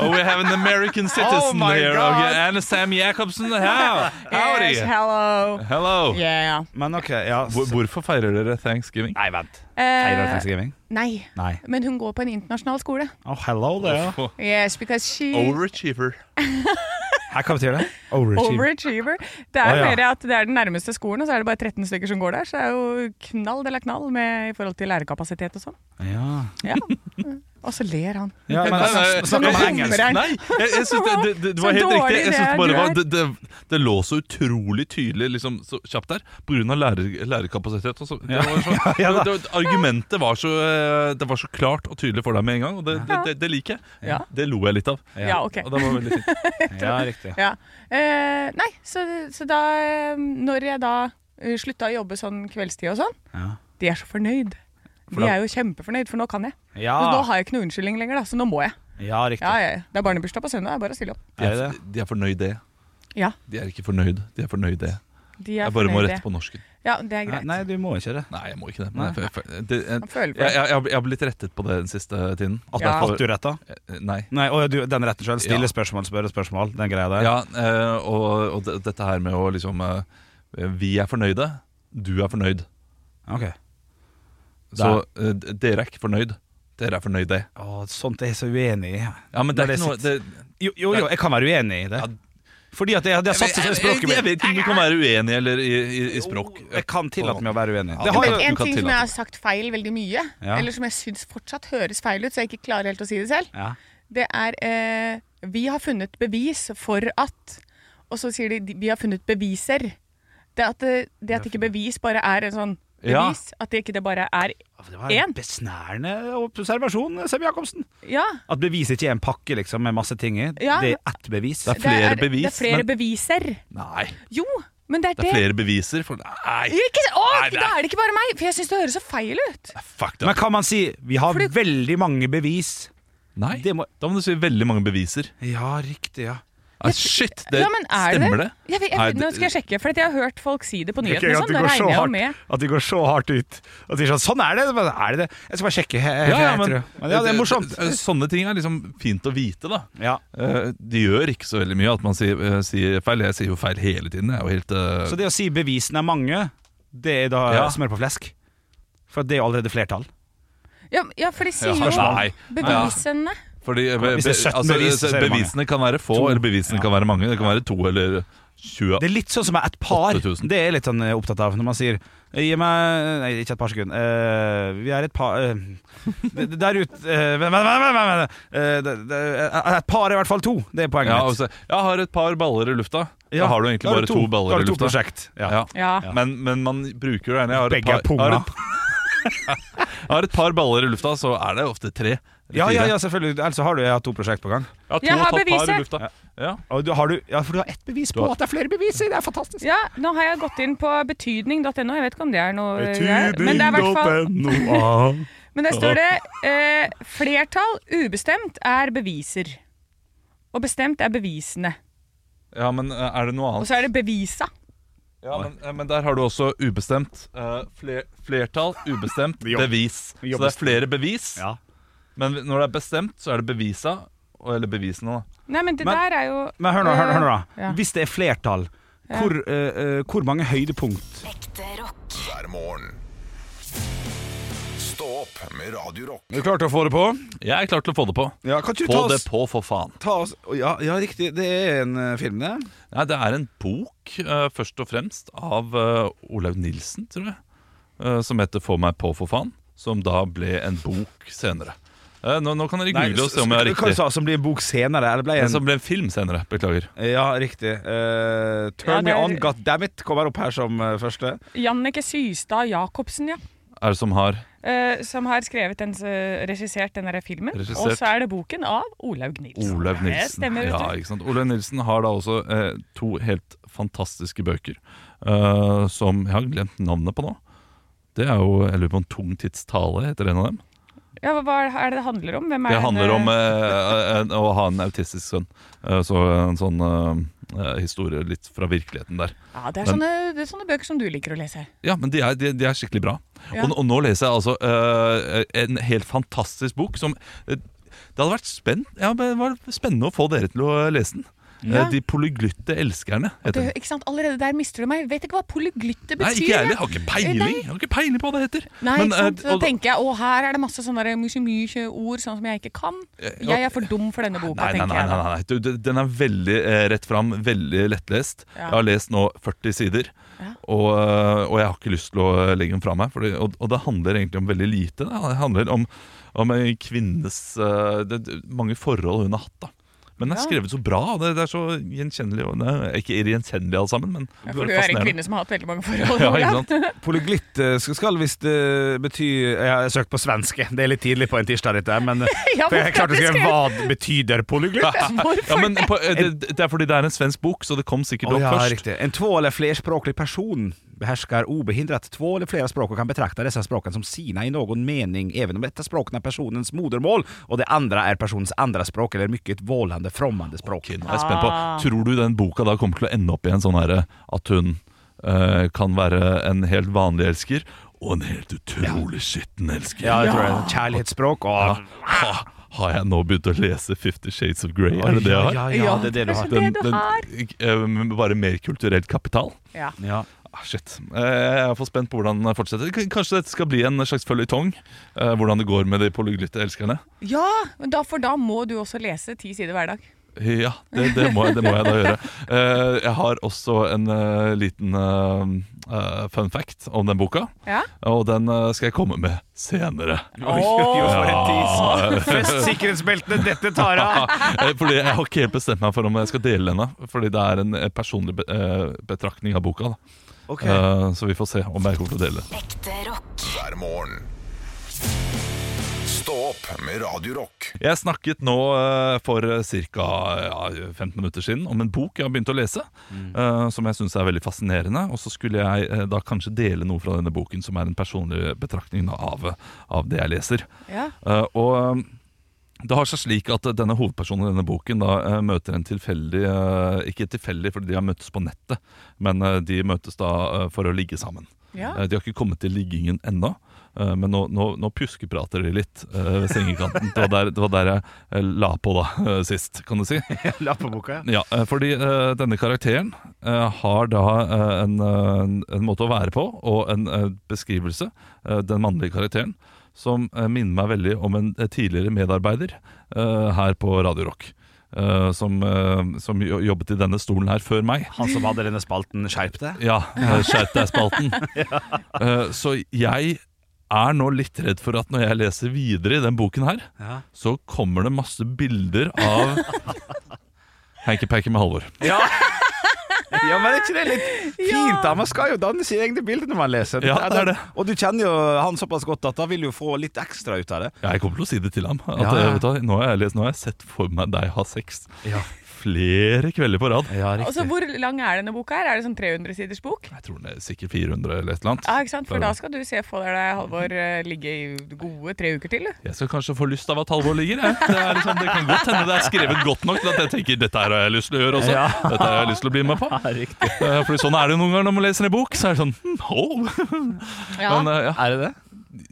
[SPEAKER 3] Oh, we have an American
[SPEAKER 4] *laughs* Oh
[SPEAKER 3] citizen
[SPEAKER 4] my
[SPEAKER 3] here.
[SPEAKER 4] God.
[SPEAKER 3] Okay. And Sam Jacobsen. How? Howdy.
[SPEAKER 5] Yes, hello.
[SPEAKER 4] Oh.
[SPEAKER 3] Hello.
[SPEAKER 5] Yeah.
[SPEAKER 4] Men ok, ja
[SPEAKER 3] Hvor-
[SPEAKER 4] så-
[SPEAKER 3] Hvorfor feirer dere thanksgiving?
[SPEAKER 4] Nei, vent. Feirer
[SPEAKER 5] Eh,
[SPEAKER 4] Thanksgiving?
[SPEAKER 5] nei,
[SPEAKER 4] Nei.
[SPEAKER 5] men hun går på en internasjonal skole.
[SPEAKER 4] Oh, hello there.
[SPEAKER 3] Oh,
[SPEAKER 5] Yes, because she
[SPEAKER 4] Oh,
[SPEAKER 3] Overachiever.
[SPEAKER 4] Her, hva betyr det?
[SPEAKER 3] Oh,
[SPEAKER 5] Oh,
[SPEAKER 4] Overachiever.
[SPEAKER 5] Overachiever. Det er
[SPEAKER 4] Å, ja.
[SPEAKER 5] mer at det er den nærmeste skolen, og så er det bare 13 stykker som går der. Så det er jo knall eller knall med, i forhold til lærerkapasitet og sånn.
[SPEAKER 4] Ja.
[SPEAKER 5] Ja. Og så ler han.
[SPEAKER 4] ja, men snak- snakk om
[SPEAKER 5] Jeg-
[SPEAKER 4] engelsk.
[SPEAKER 5] Nei.
[SPEAKER 3] Nei, jeg, jeg synes det, det, det, det var
[SPEAKER 5] Så
[SPEAKER 3] helt
[SPEAKER 5] dårlig
[SPEAKER 3] riktig. Jeg
[SPEAKER 5] det
[SPEAKER 3] synes
[SPEAKER 5] er,
[SPEAKER 3] det, bare
[SPEAKER 5] du
[SPEAKER 3] var,
[SPEAKER 5] er.
[SPEAKER 3] det, det, det lå så utrolig tydelig liksom, så kjapt der, pga. Lærer, lærerkapasitet. Og så, det var så,
[SPEAKER 4] Ja da.
[SPEAKER 3] det, det, argumentet var så, eh, det var så klart og tydelig for deg med en gang, og det, det, det, det liker jeg.
[SPEAKER 5] Ja.
[SPEAKER 3] Det lo jeg litt av.
[SPEAKER 5] Ja, ok.
[SPEAKER 3] Og det var veldig fint. *laughs*
[SPEAKER 4] Ja, riktig.
[SPEAKER 5] Ja. Eh, nei, så, så da eh, Når jeg da eh, slutta å jobbe sånn kveldstid og sånn,
[SPEAKER 4] Ja.
[SPEAKER 5] de er så fornøyd.
[SPEAKER 4] da- Ah.
[SPEAKER 5] De er jo kjempefornøyd, for nå kan jeg. Men nå
[SPEAKER 4] Ja,
[SPEAKER 5] har jeg ikke noe unnskyldning lenger, da, så nå må jeg.
[SPEAKER 4] ja riktig.
[SPEAKER 5] Ja, ja, ja. Det er barnebursdag på søndag, det er bare å stille opp.
[SPEAKER 3] De
[SPEAKER 4] Er det
[SPEAKER 3] er, de er fornøyd det.
[SPEAKER 5] Ja,
[SPEAKER 3] De er ikke fornøyd, de er fornøyd det.
[SPEAKER 5] de er
[SPEAKER 3] Jeg bare må
[SPEAKER 5] fornøyde.
[SPEAKER 3] rette på norsken.
[SPEAKER 5] Ja, det er
[SPEAKER 4] Nei,
[SPEAKER 5] greit.
[SPEAKER 4] Nei, du må ikke det.
[SPEAKER 3] Nei, jeg må ikke det. Men jeg, jeg, det jeg,
[SPEAKER 5] Han føler for
[SPEAKER 3] jeg,
[SPEAKER 5] det.
[SPEAKER 3] jeg, jeg har blitt rettet på det den siste tiden.
[SPEAKER 4] At,
[SPEAKER 5] Ja.
[SPEAKER 4] at du retta?
[SPEAKER 3] Nei.
[SPEAKER 4] Nei, å, ja, du, den retten sjøl. Stille
[SPEAKER 3] Ja.
[SPEAKER 4] spørsmål, spørre spørsmål. Den greia der.
[SPEAKER 3] Ja, eh, og, og det- dette her med å liksom eh, Vi er fornøyde, du er fornøyd.
[SPEAKER 4] Ok.
[SPEAKER 3] Så eh, d- dere er ikke fornøyd. Dere er fornøyd, det.
[SPEAKER 4] Å, sånt er jeg så uenig i.
[SPEAKER 3] Ja, men det er
[SPEAKER 4] Når
[SPEAKER 3] ikke noe
[SPEAKER 4] det
[SPEAKER 3] det,
[SPEAKER 4] Jo, jo, jo, jeg kan være uenig i det.
[SPEAKER 3] Ja.
[SPEAKER 4] Fordi at jeg, jeg har
[SPEAKER 3] jeg,
[SPEAKER 4] satt det som språket
[SPEAKER 3] jeg vet ikke om du kan være uenig eller i, i, i språk.
[SPEAKER 4] Jeg kan tillate meg å være uenig.
[SPEAKER 3] Ja,
[SPEAKER 4] Det har
[SPEAKER 3] men-
[SPEAKER 4] jo,
[SPEAKER 5] En
[SPEAKER 3] du kan
[SPEAKER 5] ting som
[SPEAKER 3] tillate
[SPEAKER 5] jeg har sagt feil veldig mye,
[SPEAKER 4] Ja.
[SPEAKER 5] eller som jeg syns fortsatt høres feil ut, så jeg ikke klarer helt å si det selv,
[SPEAKER 4] ja.
[SPEAKER 5] det er eh, Vi har funnet bevis for at Og så sier de de- Vi har funnet beviser. Det at, eh, det, det at ikke bevis bare er en sånn
[SPEAKER 3] Ja.
[SPEAKER 5] bevis, at det ikke det bare er
[SPEAKER 4] Det var
[SPEAKER 5] En.
[SPEAKER 4] en besnærende observasjon, Sem Jacobsen.
[SPEAKER 5] Ja.
[SPEAKER 4] At beviset ikke er en pakke liksom, med masse ting i.
[SPEAKER 5] Ja.
[SPEAKER 4] Det er ett bevis.
[SPEAKER 3] Det er flere bevis,
[SPEAKER 5] Det er flere
[SPEAKER 3] men-
[SPEAKER 5] beviser.
[SPEAKER 3] Nei,
[SPEAKER 5] Jo, men det er
[SPEAKER 3] det
[SPEAKER 5] det.
[SPEAKER 3] er flere beviser. For, nei,
[SPEAKER 5] Ikke, å,
[SPEAKER 3] Nei, det er-
[SPEAKER 5] da er det ikke bare meg, for jeg syns det høres så feil ut.
[SPEAKER 3] fuck
[SPEAKER 4] Men
[SPEAKER 3] that.
[SPEAKER 4] kan man si 'vi har
[SPEAKER 5] Fordi-
[SPEAKER 4] veldig mange bevis'?
[SPEAKER 3] Nei,
[SPEAKER 4] Det må-
[SPEAKER 3] da må du si veldig mange beviser.
[SPEAKER 4] Ja, riktig, ja.
[SPEAKER 3] Ah, shit, det
[SPEAKER 5] Ja, men er
[SPEAKER 3] stemmer det?
[SPEAKER 5] Jeg vet, jeg,
[SPEAKER 3] Nei,
[SPEAKER 5] nå
[SPEAKER 3] det-
[SPEAKER 5] skal jeg sjekke, for at jeg har hørt folk si det på
[SPEAKER 4] Det er
[SPEAKER 5] nyhetene.
[SPEAKER 4] gøy
[SPEAKER 5] og Sånn, da regner jeg jo med.
[SPEAKER 4] at de går så hardt ut. At de sier sånn 'sånn er det'. Men er det det? Jeg skal bare sjekke. Jeg, jeg,
[SPEAKER 3] Ja, ja,
[SPEAKER 4] jeg
[SPEAKER 3] men,
[SPEAKER 4] tror. Men ja, det er morsomt.
[SPEAKER 3] Sånne ting er liksom fint å vite, da.
[SPEAKER 4] Ja.
[SPEAKER 3] Eh, De gjør ikke så veldig mye at man sier, eh, sier feil. Jeg sier jo feil hele tiden. Jeg er jo helt eh,
[SPEAKER 4] Så det å si bevisene er mange, det er da
[SPEAKER 3] Ja.
[SPEAKER 4] smør på flesk. For det er jo allerede flertall.
[SPEAKER 5] Ja, ja, for de sier
[SPEAKER 3] Ja, sånn.
[SPEAKER 5] jo
[SPEAKER 3] nei.
[SPEAKER 5] bevisene.
[SPEAKER 3] Fordi eh, be,
[SPEAKER 4] Hvis det er 17
[SPEAKER 3] altså,
[SPEAKER 4] bevis, så er det mange.
[SPEAKER 3] bevisene kan være få, eller bevisene kan være mange. Det kan være to eller 20.
[SPEAKER 4] Det er litt sånn som er et par.
[SPEAKER 3] 8000.
[SPEAKER 4] Det er jeg litt sånn eh, opptatt av når man sier eh, Gi meg Nei, ikke et par sekunder. Eh, vi er et par eh, det- det Der ute eh, Vent, vent, vent! vent, vent. Eh, det- det- Et par er i hvert fall to. Det er poenget
[SPEAKER 3] ja,
[SPEAKER 4] mitt.
[SPEAKER 3] altså, jeg har et par baller i lufta.
[SPEAKER 4] Ja,
[SPEAKER 3] Da har du
[SPEAKER 4] da
[SPEAKER 3] egentlig
[SPEAKER 4] har
[SPEAKER 3] bare to,
[SPEAKER 4] da
[SPEAKER 3] baller
[SPEAKER 4] har
[SPEAKER 3] i
[SPEAKER 4] du to
[SPEAKER 3] lufta.
[SPEAKER 4] prosjekt. Ja.
[SPEAKER 3] Ja.
[SPEAKER 5] Ja.
[SPEAKER 3] Men, men man bruker jo gjerne jeg har, et
[SPEAKER 4] Begge
[SPEAKER 3] par,
[SPEAKER 4] er
[SPEAKER 3] jeg, har
[SPEAKER 4] punga.
[SPEAKER 3] et, *laughs* jeg har et par baller i lufta, så er det ofte tre. eller
[SPEAKER 4] Ja, ja,
[SPEAKER 3] fire.
[SPEAKER 4] ja, selvfølgelig. Ellers så har du jeg har to prosjekt på gang.
[SPEAKER 3] Jeg har, to
[SPEAKER 5] Jeg har
[SPEAKER 3] og et halvt par i
[SPEAKER 5] beviset.
[SPEAKER 3] lufta. Ja.
[SPEAKER 4] Og du, har du, ja, For du har ett bevis på
[SPEAKER 3] har-
[SPEAKER 4] at det er flere beviser! Det er fantastisk.
[SPEAKER 5] Ja, nå har jeg gått inn på betydning.no. Jeg vet ikke om det er noe greier, Men det er i hvert fall *laughs* Men der står det eh, flertall ubestemt er beviser. Og bestemt er bevisene.
[SPEAKER 3] ja, men eh, er det noe
[SPEAKER 5] Og
[SPEAKER 3] annet?
[SPEAKER 5] så er det bevisa.
[SPEAKER 3] Ja, men, eh, men der har du også ubestemt. eh, fler, flertall, ubestemt,
[SPEAKER 4] Vi jobber-
[SPEAKER 3] bevis.
[SPEAKER 4] vi
[SPEAKER 3] Så
[SPEAKER 4] jobber
[SPEAKER 3] det er flere bevis.
[SPEAKER 4] Ja.
[SPEAKER 3] Men når det er bestemt, så er det bevisa. og- Eller bevisene, da.
[SPEAKER 5] Nei, men det
[SPEAKER 4] Men-
[SPEAKER 5] der er jo Eh,
[SPEAKER 4] Men hør nå, hør, hør nå da.
[SPEAKER 5] Ja.
[SPEAKER 4] Hvis det er flertall, hvor, eh, eh, hvor mange høydepunkt
[SPEAKER 6] hver morgen. Stå Stå opp med Radio Rock.
[SPEAKER 4] Er du klar til å få det på?
[SPEAKER 3] Jeg er klar til å få det på.
[SPEAKER 4] Ja, kan ikke du
[SPEAKER 3] Få
[SPEAKER 4] ta
[SPEAKER 3] det
[SPEAKER 4] oss,
[SPEAKER 3] på, for faen.
[SPEAKER 4] ta oss ja, ja, riktig. Det er en eh, film, det.
[SPEAKER 3] Nei, det er en bok, eh, først og fremst, av eh, Olaug Nilsen, tror jeg. eh, som heter 'Få meg på, for faen'. Som da ble en bok senere. Eh, nå, nå kan dere google og se om jeg har
[SPEAKER 4] Hva du
[SPEAKER 3] riktig.
[SPEAKER 4] sa som blir en bok senere? Eller ble
[SPEAKER 3] Den
[SPEAKER 4] en,
[SPEAKER 3] som ble en film senere. Beklager.
[SPEAKER 4] ja, riktig.
[SPEAKER 5] Ja,
[SPEAKER 4] Eh,
[SPEAKER 5] det
[SPEAKER 4] Turn me
[SPEAKER 5] er-
[SPEAKER 4] on, god damn it, kommer opp her som eh, første.
[SPEAKER 5] Jannike Systad Jacobsen, ja.
[SPEAKER 3] Er det som har
[SPEAKER 5] eh, som har skrevet den, eh, regissert den der filmen.
[SPEAKER 3] Regissert.
[SPEAKER 5] Og så er det boken av Olaug Nilsen.
[SPEAKER 3] Olaug
[SPEAKER 5] Det
[SPEAKER 3] Nilsen.
[SPEAKER 5] stemmer, vet
[SPEAKER 3] ja,
[SPEAKER 5] du.
[SPEAKER 3] ikke sant? Olaug Nilsen har da også eh, to helt fantastiske bøker eh, som jeg har glemt navnet på nå. Det er jo Jeg lurer på en tung tids tale heter en av dem.
[SPEAKER 5] Ja, hva- hva er det det handler om? Hvem er
[SPEAKER 3] Det
[SPEAKER 5] den,
[SPEAKER 3] handler
[SPEAKER 5] eh,
[SPEAKER 3] om eh, en, å ha en autistisk sønn. Eh, så en sånn eh, historie litt fra virkeligheten der.
[SPEAKER 5] Ja, det er,
[SPEAKER 3] Men-
[SPEAKER 5] sånne, det er sånne bøker som du liker å lese.
[SPEAKER 3] Ja, men de er, de, de er skikkelig bra.
[SPEAKER 5] Ja.
[SPEAKER 3] Og, og nå leser jeg altså eh, en helt fantastisk bok som eh, Det hadde vært spenn, ja, men det var spennende å få dere til å lese den.
[SPEAKER 5] Ja.
[SPEAKER 3] Eh, De polyglytte elskerne. heter den.
[SPEAKER 5] Det, ikke sant? Allerede der mister du meg. Vet ikke hva polyglytte betyr.
[SPEAKER 3] Nei, ikke jeg
[SPEAKER 5] jeg.
[SPEAKER 3] heller. Jeg har ikke peiling Jeg har ikke peiling på hva det heter.
[SPEAKER 5] Nei,
[SPEAKER 3] Men,
[SPEAKER 5] ikke sant?
[SPEAKER 3] eh,
[SPEAKER 5] Da
[SPEAKER 3] og-
[SPEAKER 5] tenker jeg, å her er det masse sånne der mye, mye ord sånn som jeg ikke kan. Jeg er for dum for denne boka,
[SPEAKER 3] Nei, nei,
[SPEAKER 5] tenker
[SPEAKER 3] nei,
[SPEAKER 5] jeg.
[SPEAKER 3] nei,
[SPEAKER 5] da.
[SPEAKER 3] nei. Du, du, den er veldig eh, rett fram, veldig lettlest.
[SPEAKER 5] Ja.
[SPEAKER 3] Jeg har lest nå 40 sider,
[SPEAKER 5] Ja.
[SPEAKER 3] og, eh, og jeg har ikke lyst til å legge den fra meg. Fordi, og, og det handler egentlig om veldig lite. Det handler om, om en kvinnes eh, det, det- Mange forhold hun har hatt. da Men den er
[SPEAKER 5] Ja.
[SPEAKER 3] skrevet så bra. og Det, det er så gjenkjennelig. Og det er ikke gjenkjennelig alle sammen, men
[SPEAKER 5] Ja, For du er en kvinne som har hatt veldig mange forhold.
[SPEAKER 3] *laughs* Ja, ikke
[SPEAKER 5] Olav.
[SPEAKER 3] sant?
[SPEAKER 5] *laughs*
[SPEAKER 4] Polyglytt eh, skal, skal visst eh, bety Jeg har søkt på svenske. Det er litt tidlig på en tirsdag, dette, her, men eh,
[SPEAKER 5] *laughs* Ja,
[SPEAKER 4] for jeg
[SPEAKER 5] hvorfor
[SPEAKER 4] klarte å
[SPEAKER 5] har du
[SPEAKER 4] skrive hva betyder polyglytt.
[SPEAKER 3] *laughs* Ja, men på, eh, det, det er fordi det er en svensk bok, så det kom sikkert
[SPEAKER 4] Å,
[SPEAKER 3] opp
[SPEAKER 4] ja,
[SPEAKER 3] først.
[SPEAKER 4] riktig. En två eller flerspråklig person behärskar obehindrat två eller flera språk och kan betrakta dessa språken som sina i någon mening, även om detta språk är personens modermål och det andra är personens andra språk eller mycket vållande främmande språk.
[SPEAKER 3] Ok, nå er jeg spent på
[SPEAKER 5] Ah.
[SPEAKER 3] Tror du den boka da kommer til å ende opp i en sånn herre at hun eh, kan være en helt vanlig elsker og en helt utrolig skitten elsker?
[SPEAKER 4] Ja, det tror jeg. Kärleksspråk och...
[SPEAKER 3] Ja. Ha, har jeg nå begynt å lese Fifty Shades of Grey? Er det det jeg har?
[SPEAKER 4] Ja, ja, ja, det er det du har.
[SPEAKER 5] kanskje det du har.
[SPEAKER 3] eh, bare mer kulturell kapital?
[SPEAKER 5] Ja.
[SPEAKER 4] Ja.
[SPEAKER 3] Ah, shit. Eh, Jeg er for spent på hvordan det fortsetter. K- Kanskje dette skal bli en slags føljetong? eh, hvordan det går med de polyglytte elskerne?
[SPEAKER 5] ja, men da, for da må du også lese ti sider hver dag.
[SPEAKER 3] Ja, det, det, må, jeg- det må jeg da gjøre. Eh, jeg har også en eh, liten eh, eh, fun fact om den boka.
[SPEAKER 5] Ja.
[SPEAKER 3] Og den eh, skal jeg komme med senere.
[SPEAKER 4] Fest sikkerhetsbeltene, dette
[SPEAKER 3] *laughs*
[SPEAKER 4] tar jeg!
[SPEAKER 3] Eh, Fordi Jeg har ikke helt bestemt meg for om jeg skal dele den. da. Fordi det er en eh, personlig be eh, betraktning av boka. Da.
[SPEAKER 4] *laughs*
[SPEAKER 3] Eh, så vi får se om jeg kommer til å dele den.
[SPEAKER 6] hver morgen. Stå opp med Radio Rock.
[SPEAKER 3] Jeg snakket nå eh, for ca. Ja, 15 minutter siden om en bok jeg har begynt å lese, eh, som jeg syns er veldig fascinerende. Og så skulle jeg eh, da kanskje dele noe fra denne boken, som er en personlig betraktning da av, av det jeg leser.
[SPEAKER 5] Ja.
[SPEAKER 3] Eh, og eh, det har seg slik at eh, denne hovedpersonen i denne boken da, eh, møter en tilfeldig eh, Ikke tilfeldig, fordi de har møttes på nettet, men eh, de møtes da eh, for å ligge sammen.
[SPEAKER 5] Ja.
[SPEAKER 3] Eh, De har ikke kommet til liggingen ennå, eh, men nå, nå, nå pjuskeprater de litt eh, ved sengekanten. Det var der, det var der jeg eh, la på da, *laughs* eh, sist, kan du si.
[SPEAKER 4] La på boka, ja.
[SPEAKER 3] Ja, eh, fordi eh, denne karakteren eh, har da eh, en, eh, en, en måte å være på, og en eh, beskrivelse, eh, den mannlige karakteren, som eh, minner meg veldig om en eh, tidligere medarbeider eh, her på Radio Rock. eh, som, eh, som jo- jobbet i denne stolen her før meg.
[SPEAKER 4] Han som hadde denne spalten, skjerp deg.
[SPEAKER 3] Ja, skjerp deg-spalten. Eh, Så jeg er nå litt redd for at når jeg leser videre i den boken her,
[SPEAKER 4] Ja.
[SPEAKER 3] så kommer det masse bilder av Hanky Panky med Halvor.
[SPEAKER 4] Ja. *laughs* ja, men er ikke det litt fint? da? Man skal jo danne sine egne bilder når man leser.
[SPEAKER 3] Ja, det er det.
[SPEAKER 4] Og du kjenner jo han såpass godt at han vil jo få litt ekstra ut av det.
[SPEAKER 3] Jeg kommer til å si det til ham. At,
[SPEAKER 4] Ja,
[SPEAKER 3] eh,
[SPEAKER 4] ja.
[SPEAKER 3] Vet du, hva, nå, har jeg lest, nå har jeg sett for meg deg ha sex
[SPEAKER 4] Ja,
[SPEAKER 3] flere kvelder på rad.
[SPEAKER 5] Altså, hvor lang er denne boka? her? Er det sånn 300 siders bok?
[SPEAKER 3] Jeg tror det er sikkert 400 eller et eller annet.
[SPEAKER 5] Ja, ikke sant? For da skal du se for deg Halvor eh, ligge i gode tre uker til. du.
[SPEAKER 3] Jeg skal kanskje få lyst av at Halvor ligger. Jeg. Det, er liksom, det kan godt hende det er skrevet godt nok til at jeg tenker dette her har jeg lyst til å gjøre også.
[SPEAKER 4] Ja.
[SPEAKER 3] Dette har jeg lyst til å bli med på.
[SPEAKER 4] riktig.
[SPEAKER 3] Eh, Fordi sånn er det jo noen ganger når man leser en bok. Så er det sånn hmm, oh.
[SPEAKER 5] Ja.
[SPEAKER 3] "Hm, Men eh, ja,
[SPEAKER 4] Er det det?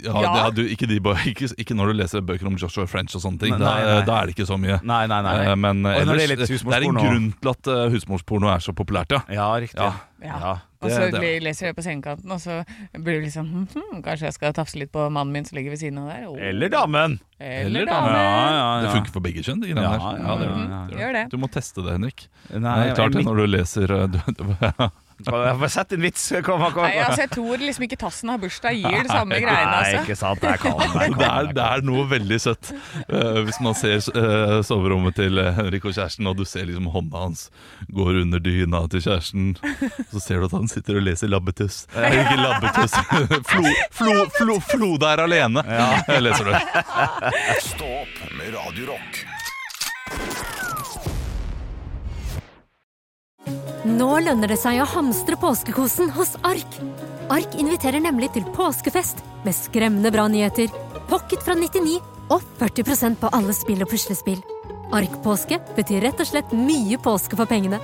[SPEAKER 3] ja,
[SPEAKER 5] Ja.
[SPEAKER 3] det er du, ikke, de, bø- *laughs* ikke, ikke når du leser bøker om Joshua French og sånne ting.
[SPEAKER 4] Nei, nei,
[SPEAKER 3] Da,
[SPEAKER 4] nei.
[SPEAKER 3] da er det ikke så mye.
[SPEAKER 4] Nei, nei, nei.
[SPEAKER 3] Eh, Men eh,
[SPEAKER 4] Og når
[SPEAKER 3] ellers,
[SPEAKER 4] det
[SPEAKER 3] det, er
[SPEAKER 4] gjelder
[SPEAKER 3] en
[SPEAKER 4] husmorsporno-
[SPEAKER 3] grunn til at eh, husmorsporno er så populært, ja.
[SPEAKER 4] Ja, riktig.
[SPEAKER 3] Ja.
[SPEAKER 5] Ja. Og
[SPEAKER 3] det-
[SPEAKER 5] så
[SPEAKER 3] det-
[SPEAKER 5] le- leser jeg på sengekanten, og så blir du liksom hm, hm, Kanskje jeg skal tafse litt på mannen min som ligger ved siden av der. Å,
[SPEAKER 4] Eller damen.
[SPEAKER 5] eller
[SPEAKER 4] Ja,
[SPEAKER 5] damen.
[SPEAKER 4] ja, ja.
[SPEAKER 3] Det funker for begge kjønn, de greiene
[SPEAKER 4] Ja,
[SPEAKER 3] der.
[SPEAKER 4] ja,
[SPEAKER 3] Ja, det gjør
[SPEAKER 4] ja,
[SPEAKER 3] det.
[SPEAKER 4] ja.
[SPEAKER 3] Det
[SPEAKER 5] Gjør det.
[SPEAKER 3] Du må teste det, Henrik.
[SPEAKER 4] Nei,
[SPEAKER 3] det er klart det
[SPEAKER 4] jeg,
[SPEAKER 3] når du leser eh, du, *laughs*
[SPEAKER 4] jeg har sett en vits. Kom, kom, kom.
[SPEAKER 5] Nei, altså, jeg tror liksom ikke tassen har bursdag gir det samme greiene,
[SPEAKER 4] *laughs* Nei,
[SPEAKER 5] altså.
[SPEAKER 4] ikke sant. Der kom den. der
[SPEAKER 3] det,
[SPEAKER 4] kom
[SPEAKER 3] er,
[SPEAKER 4] den.
[SPEAKER 3] det er noe veldig søtt eh, hvis man ser eh, soverommet til eh, Henrik og kjæresten, og du ser liksom hånda hans går under dyna til kjæresten. Så ser du at han sitter og leser Labbetuss. Eh, Ikke Labbetuss,
[SPEAKER 5] *laughs*
[SPEAKER 3] Flo, flo, flo, Flode er alene, Jeg *laughs* leser du.
[SPEAKER 6] Stå opp med Radio Rock.
[SPEAKER 1] Nå lønner det seg å hamstre påskekosen hos Ark. Ark inviterer nemlig til påskefest med skremmende bra nyheter, pocket fra 99 og 40 på alle spill og puslespill. Ark-påske betyr rett og slett mye påske for pengene.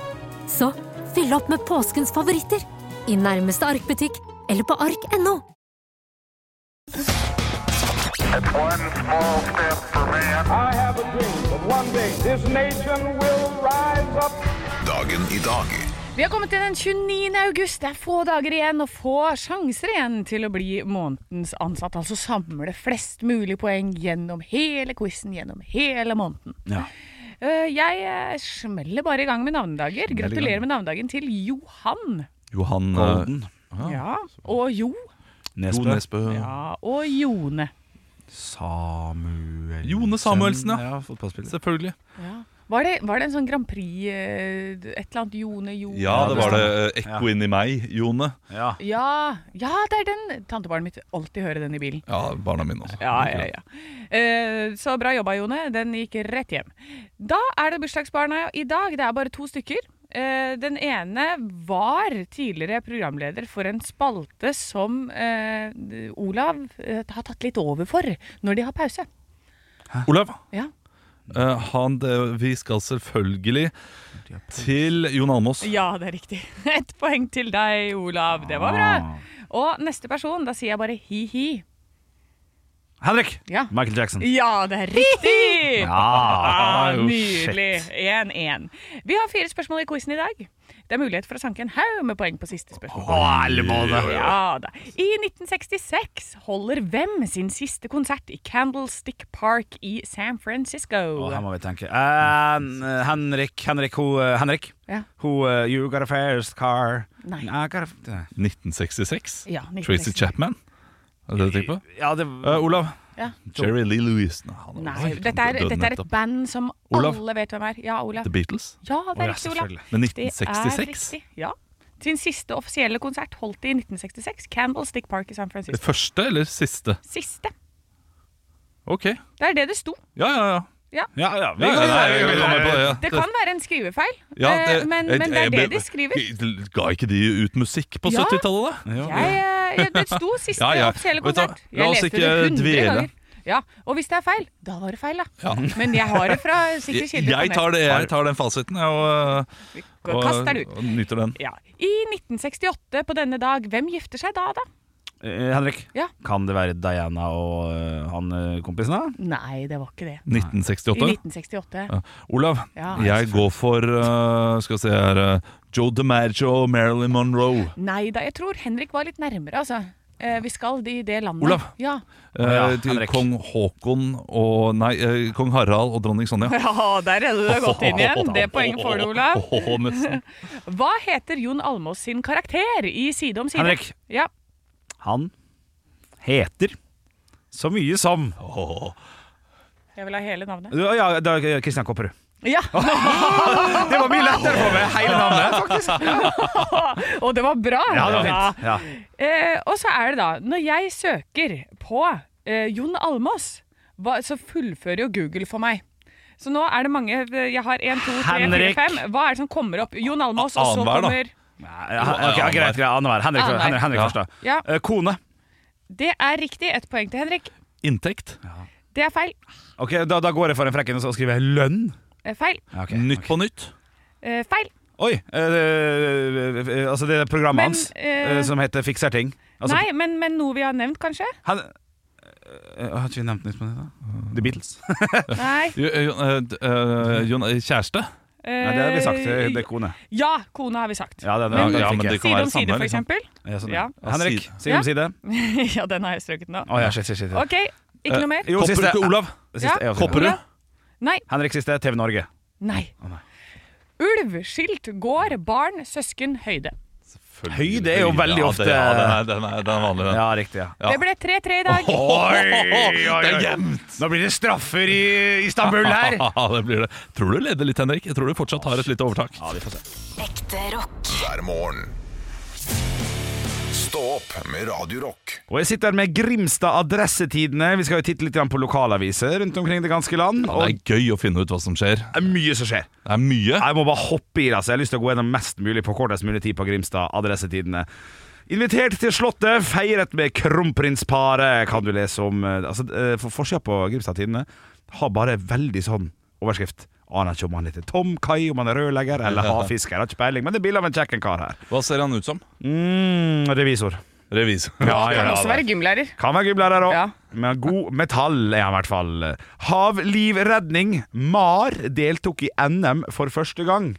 [SPEAKER 1] Så fyll opp med påskens favoritter i nærmeste Ark-butikk eller på ark.no.
[SPEAKER 7] I have a dream that one day this nation will rise up.
[SPEAKER 6] Dagen i dag
[SPEAKER 5] Vi har kommet til den 29. august. Det er få dager igjen og få sjanser igjen til å bli månedens ansatt. Altså samle flest mulig poeng gjennom hele quizen, gjennom hele måneden.
[SPEAKER 4] Ja.
[SPEAKER 5] Eh, Jeg eh, smeller bare i gang med navnedager. Gratulerer med navnedagen til Johan.
[SPEAKER 3] Johan eh,
[SPEAKER 4] Golden.
[SPEAKER 5] Ja. Og Jo.
[SPEAKER 3] Jo
[SPEAKER 4] Nesbø.
[SPEAKER 3] Nesbø.
[SPEAKER 5] Ja, og Jone.
[SPEAKER 4] Samuel
[SPEAKER 3] Jone Samuelsen, ja.
[SPEAKER 4] ja fotballspiller.
[SPEAKER 3] Selvfølgelig.
[SPEAKER 5] Var det, var det en sånn Grand Prix eh, Et eller annet Jone Jo...
[SPEAKER 3] Ja, det var det. eh, Ekko inn i meg, Jone.
[SPEAKER 4] Ja.
[SPEAKER 5] Ja, ja, det er den! Tantebarnet mitt alltid hører den i bilen.
[SPEAKER 3] Ja, barna mine også.
[SPEAKER 5] Ja, ja, ja. Eh, så bra jobba, Jone. Den gikk rett hjem. Da er det bursdagsbarna i dag. Det er bare to stykker. Eh, den ene var tidligere programleder for en spalte som eh, Olav eh, har tatt litt over for når de har pause.
[SPEAKER 3] Olav,
[SPEAKER 5] Ja.
[SPEAKER 3] eh, han, det, vi skal selvfølgelig til Jon Almås.
[SPEAKER 5] ja, det er riktig. *laughs* Ett poeng til deg, Olav. Det var bra. Og neste person, da sier jeg bare hi-hi.
[SPEAKER 4] Henrik!
[SPEAKER 5] Ja.
[SPEAKER 4] Michael Jackson.
[SPEAKER 5] Ja, det er riktig!
[SPEAKER 4] Ja, oh,
[SPEAKER 5] Ah, nydelig. 1-1. Vi har fire spørsmål i quizen i dag. Det er mulighet for å sanke en haug med poeng på siste spørsmål. Ja da. I 1966 holder hvem sin siste konsert i Candlestick Park i San Francisco?
[SPEAKER 4] Å, her må vi tenke. Eh, Henrik, Henrik, hun eh, Henrik.
[SPEAKER 5] Ja.
[SPEAKER 4] Hun eh, You got a first car.
[SPEAKER 5] Nei.
[SPEAKER 4] I got a-
[SPEAKER 3] 1966.
[SPEAKER 5] Ja,
[SPEAKER 3] Tracy
[SPEAKER 5] 1966.
[SPEAKER 3] Chapman. Er det det du tenker på?
[SPEAKER 4] Ja, det
[SPEAKER 3] Eh, Olav.
[SPEAKER 5] Ja.
[SPEAKER 3] Jerry Lee Lewis. Nei, han er-
[SPEAKER 5] Nei,
[SPEAKER 3] Oi, han
[SPEAKER 5] dette er,
[SPEAKER 3] døde
[SPEAKER 5] dette er et
[SPEAKER 3] nettopp.
[SPEAKER 5] band som
[SPEAKER 3] Olav.
[SPEAKER 5] alle vet hvem er. Ja, Olav.
[SPEAKER 3] The Beatles.
[SPEAKER 5] Ja, det
[SPEAKER 4] Å,
[SPEAKER 5] er
[SPEAKER 4] ja,
[SPEAKER 5] riktig, Olav.
[SPEAKER 4] selvfølgelig.
[SPEAKER 3] Men
[SPEAKER 5] Det er
[SPEAKER 3] 1966?
[SPEAKER 5] riktig, Ja. Sin siste offisielle konsert holdt de i 1966. Candlestick Park i San
[SPEAKER 3] Det *laughs*
[SPEAKER 5] Francisco.
[SPEAKER 3] første eller siste?
[SPEAKER 5] Siste.
[SPEAKER 3] Ok. Ja,
[SPEAKER 5] Det er det det sto.
[SPEAKER 3] ja, ja.
[SPEAKER 4] Ja, ja, vi
[SPEAKER 3] Ja,
[SPEAKER 4] går
[SPEAKER 3] ja,
[SPEAKER 4] videre,
[SPEAKER 3] nei,
[SPEAKER 4] vi går
[SPEAKER 3] vi
[SPEAKER 4] videre.
[SPEAKER 3] kommer på det, ja.
[SPEAKER 5] Det kan være en skrivefeil,
[SPEAKER 3] Ja,
[SPEAKER 5] eh, men,
[SPEAKER 3] eh,
[SPEAKER 5] men det er
[SPEAKER 3] eh,
[SPEAKER 5] det
[SPEAKER 3] men-
[SPEAKER 5] de skriver.
[SPEAKER 3] Ga ikke de ut musikk på
[SPEAKER 5] Ja.
[SPEAKER 3] 70-tallet, da?
[SPEAKER 4] Ja,
[SPEAKER 5] Jeg, eh, ja, det sto
[SPEAKER 3] *laughs*
[SPEAKER 5] siste
[SPEAKER 3] Ja, ja.
[SPEAKER 5] offisielle
[SPEAKER 3] Vet du hva,
[SPEAKER 5] konsert.
[SPEAKER 3] la
[SPEAKER 5] Jeg
[SPEAKER 3] oss
[SPEAKER 5] leste det
[SPEAKER 3] ikke
[SPEAKER 5] 100
[SPEAKER 3] dvele.
[SPEAKER 5] ganger. Ja, Og hvis det er feil, da var det feil, da.
[SPEAKER 3] Ja.
[SPEAKER 5] *laughs* Men jeg har det fra sikre
[SPEAKER 3] Jeg,
[SPEAKER 5] kilder. på
[SPEAKER 3] jeg,
[SPEAKER 5] nett.
[SPEAKER 3] tar det, jeg tar den fasiten, jeg, og,
[SPEAKER 5] Gå-
[SPEAKER 3] og,
[SPEAKER 5] Kast den ut.
[SPEAKER 3] og nyter den.
[SPEAKER 5] Ja. I 1968 på denne dag, hvem gifter seg da, da?
[SPEAKER 4] Eh, Henrik,
[SPEAKER 5] Ja.
[SPEAKER 4] kan det være Diana og eh, han eh, kompisen, da?
[SPEAKER 5] Nei, det var ikke det. I
[SPEAKER 3] 1968.
[SPEAKER 5] 1968.
[SPEAKER 3] Ja. Olav,
[SPEAKER 5] Ja.
[SPEAKER 3] jeg går for eh, Skal vi se her eh, Joe DiMaggio og Marilyn Monroe.
[SPEAKER 5] Nei da, jeg tror Henrik var litt nærmere, altså. Eh, vi skal i det landet.
[SPEAKER 3] Olav.
[SPEAKER 5] Ja.
[SPEAKER 3] Eh,
[SPEAKER 4] Ja,
[SPEAKER 3] til
[SPEAKER 4] Henrik.
[SPEAKER 3] Kong Håkon og Nei, eh, kong Harald og
[SPEAKER 5] *laughs*
[SPEAKER 3] dronning
[SPEAKER 5] *laughs*
[SPEAKER 3] Sonja.
[SPEAKER 5] ja, der redder du deg godt inn igjen. Det poenget får du, Olav.
[SPEAKER 3] *laughs* Åh, nesten.
[SPEAKER 5] Hva heter Jon Almås sin karakter i Side om side?
[SPEAKER 4] Henrik.
[SPEAKER 5] Ja.
[SPEAKER 4] Han heter så mye som
[SPEAKER 3] Åh.
[SPEAKER 5] Jeg vil ha hele navnet.
[SPEAKER 4] Ja, ja det er Kristian Kopperud.
[SPEAKER 5] Ja,
[SPEAKER 4] Det var mye lettere for meg, hele navnet, faktisk.
[SPEAKER 5] Og det var bra!
[SPEAKER 4] Ja, det var fint. Ja.
[SPEAKER 5] Eh, og så er det da, når jeg søker på eh, Jon Almås, hva, så fullfører jo Google for meg. Så nå er det mange Jeg har én, to, tre, fire,
[SPEAKER 4] Henrik.
[SPEAKER 5] fem. Hva er det som kommer opp? Jon Almås, og så
[SPEAKER 3] Annenhver, da.
[SPEAKER 5] kommer
[SPEAKER 4] Ja, ok, ja, greit, greit. Annenhver. Henrik,
[SPEAKER 5] Annenhver.
[SPEAKER 4] Henrik, Henrik
[SPEAKER 3] Ja.
[SPEAKER 4] først, da.
[SPEAKER 5] Ja,
[SPEAKER 4] Eh, kone.
[SPEAKER 5] det er riktig. Ett poeng til Henrik.
[SPEAKER 3] Inntekt.
[SPEAKER 5] Det er feil.
[SPEAKER 4] Ok, da, da går jeg for en frekken og så skriver jeg lønn.
[SPEAKER 5] Eh, feil.
[SPEAKER 4] Ja, ok.
[SPEAKER 3] Nytt på nytt.
[SPEAKER 5] Eh, feil.
[SPEAKER 4] Oi! eh, eh, eh, altså, det er programmet
[SPEAKER 5] Men,
[SPEAKER 4] hans
[SPEAKER 5] eh,
[SPEAKER 4] eh, som heter Fikser ting. Altså, *laughs*
[SPEAKER 5] Nei, men, men noe vi har nevnt, kanskje?
[SPEAKER 4] Han, eh, Har ikke vi nevnt Nytt på nytt? da? The Beatles?
[SPEAKER 5] Eh, Nei.
[SPEAKER 3] Jo, eh, Jon- eh, d- eh, Jon- eh, kjæreste?
[SPEAKER 4] Nei, det har vi sagt. eh, Det det er kone.
[SPEAKER 5] eh, Ja, kone har vi sagt.
[SPEAKER 4] Ja, det, det,
[SPEAKER 3] Ja,
[SPEAKER 4] det,
[SPEAKER 3] ja, men
[SPEAKER 4] fikk
[SPEAKER 3] det
[SPEAKER 4] jeg.
[SPEAKER 3] kan
[SPEAKER 5] Side
[SPEAKER 3] være
[SPEAKER 5] om side,
[SPEAKER 3] samme.
[SPEAKER 5] for
[SPEAKER 3] Liksom.
[SPEAKER 5] eksempel. *laughs*
[SPEAKER 4] Ja, sånn,
[SPEAKER 5] Ja.
[SPEAKER 4] Henrik,
[SPEAKER 3] Side.
[SPEAKER 4] side om side.
[SPEAKER 5] ja, den har jeg strøket nå.
[SPEAKER 4] Å ja, shit, shit, shit.
[SPEAKER 5] Ok, ikke noe mer?
[SPEAKER 4] Eh, Jo,
[SPEAKER 3] Kopper-
[SPEAKER 4] siste.
[SPEAKER 3] Olav?
[SPEAKER 4] Det siste
[SPEAKER 5] Ja.
[SPEAKER 4] er også-
[SPEAKER 3] Kopperud?
[SPEAKER 5] Nei.
[SPEAKER 4] Henrik siste, TV Norge.
[SPEAKER 5] Nei.
[SPEAKER 4] Å, nei.
[SPEAKER 5] Ulv, skilt, gård, barn, søsken, høyde.
[SPEAKER 4] Høyde er jo veldig
[SPEAKER 3] ja,
[SPEAKER 4] ofte-
[SPEAKER 3] Det, ja, den er, den er, den er vanlig, *laughs* den.
[SPEAKER 4] Ja, riktig. ja
[SPEAKER 3] Ja.
[SPEAKER 5] Det ble 3-3 i dag.
[SPEAKER 3] Det er jevnt!
[SPEAKER 4] Nå blir det straffer i Istanbul her!
[SPEAKER 3] *laughs*
[SPEAKER 4] *laughs*
[SPEAKER 3] Ja, det blir det. Tror du leder litt, Henrik. Jeg tror du fortsatt har et lite overtak.
[SPEAKER 8] Ekte rock.
[SPEAKER 6] hver morgen. Stå opp med Radio Rock.
[SPEAKER 4] Og jeg sitter her med Grimstad Adressetidene. Vi skal jo titte litt grann på lokalaviser rundt omkring det ganske land.
[SPEAKER 3] Det
[SPEAKER 4] Og
[SPEAKER 3] er gøy å finne ut hva som skjer.
[SPEAKER 4] det er mye som skjer.
[SPEAKER 3] Det er mye.
[SPEAKER 4] Jeg må bare hoppe i det. Altså. Jeg har lyst til å gå gjennom mest mulig på kortest mulig tid på Grimstad Adressetidene. Invitert til Slottet, feiret med kronprinsparet, kan du lese om. Eh, Altså, eh, for Forsida på Grimstad-tidene har bare veldig sånn overskrift. Aner ikke om han heter Tom Kai, om han er rørlegger eller havfisker. Har ikke peiling, men det er bilde av en kjekken kar her.
[SPEAKER 3] Hva ser han ut som?
[SPEAKER 4] Mm, revisor. altså,
[SPEAKER 3] Revisor. *laughs*
[SPEAKER 5] Kan også være gymlærer.
[SPEAKER 4] Kan være gymlærer òg.
[SPEAKER 5] Ja.
[SPEAKER 4] Men god metall er han i hvert fall. Havlivredning. MAR deltok i NM for første gang.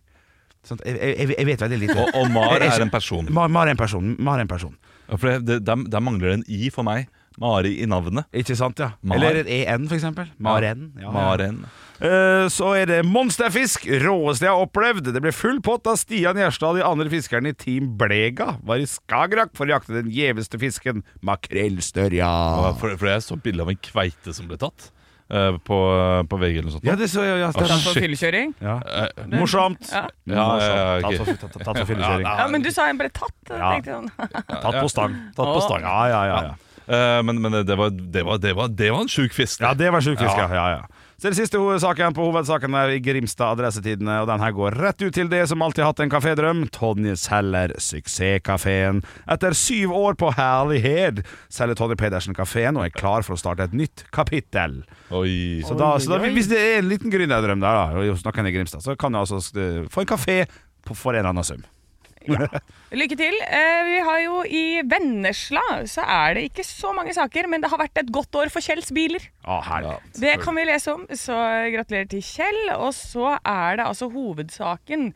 [SPEAKER 4] Sånt, jeg, jeg, jeg vet veldig lite.
[SPEAKER 3] Og, og Mar er en person.
[SPEAKER 4] Mar, Mar er en person. Mar er en person.
[SPEAKER 3] Ja, For det, det, der, der mangler det en I for meg. Mari i navnet.
[SPEAKER 4] Ikke sant, ja.
[SPEAKER 3] Mar.
[SPEAKER 4] Eller et EN, for eksempel. Maren. Ja, ja.
[SPEAKER 3] Maren.
[SPEAKER 4] Eh, Så er det monsterfisk, råeste jeg har opplevd. Det ble full pott da Stian Gjerstad og de andre fiskerne i Team Blega var i Skagerrak for å jakte den gjeveste fisken, makrellstørja.
[SPEAKER 3] Ja, For, for jeg så bilde av en kveite som ble tatt eh, på, på VG eller noe sånt.
[SPEAKER 4] Ja, det så jeg. Ja,
[SPEAKER 3] Å,
[SPEAKER 4] stemmer.
[SPEAKER 5] For fyllekjøring.
[SPEAKER 4] ja. Morsomt.
[SPEAKER 5] Ja.
[SPEAKER 3] Ja, ja, ja, ok.
[SPEAKER 4] Tatt for- tatt- Tatt for fyllekjøring.
[SPEAKER 5] Ja, men du sa en ble tatt. og
[SPEAKER 4] Ja.
[SPEAKER 5] jeg tenkte sånn. *laughs*
[SPEAKER 4] Tatt på stang.
[SPEAKER 3] Tatt på stang.
[SPEAKER 4] Ja, ja, ja. ja.
[SPEAKER 3] Eh, men men det, det, var, det, var, det, var, det var en sjuk fisk.
[SPEAKER 4] Ja, det var sjukt fisk, ja. ja, ja. Så er det siste ho- saken på hovedsaken der i Grimstad Adressetidene, og den her går rett ut til det som alltid har hatt en kafédrøm, Tonje selger suksesskafeen. Etter syv år på herlighet selger Tonje Pedersen kafeen og er klar for å starte et nytt kapittel.
[SPEAKER 3] Oi.
[SPEAKER 4] Så, da, så da, hvis det er en liten gründerdrøm der, da, hos noen i Grimstad, så kan du altså eh, få en kafé på- for en eller annen sum.
[SPEAKER 5] Lykke til. Eh, Vi har jo i Vennesla så er det ikke så mange saker, men det har vært et godt år for Kjells biler.
[SPEAKER 4] Ah, herlig.
[SPEAKER 5] Det kan vi lese om, så gratulerer til Kjell. Og så er det altså hovedsaken.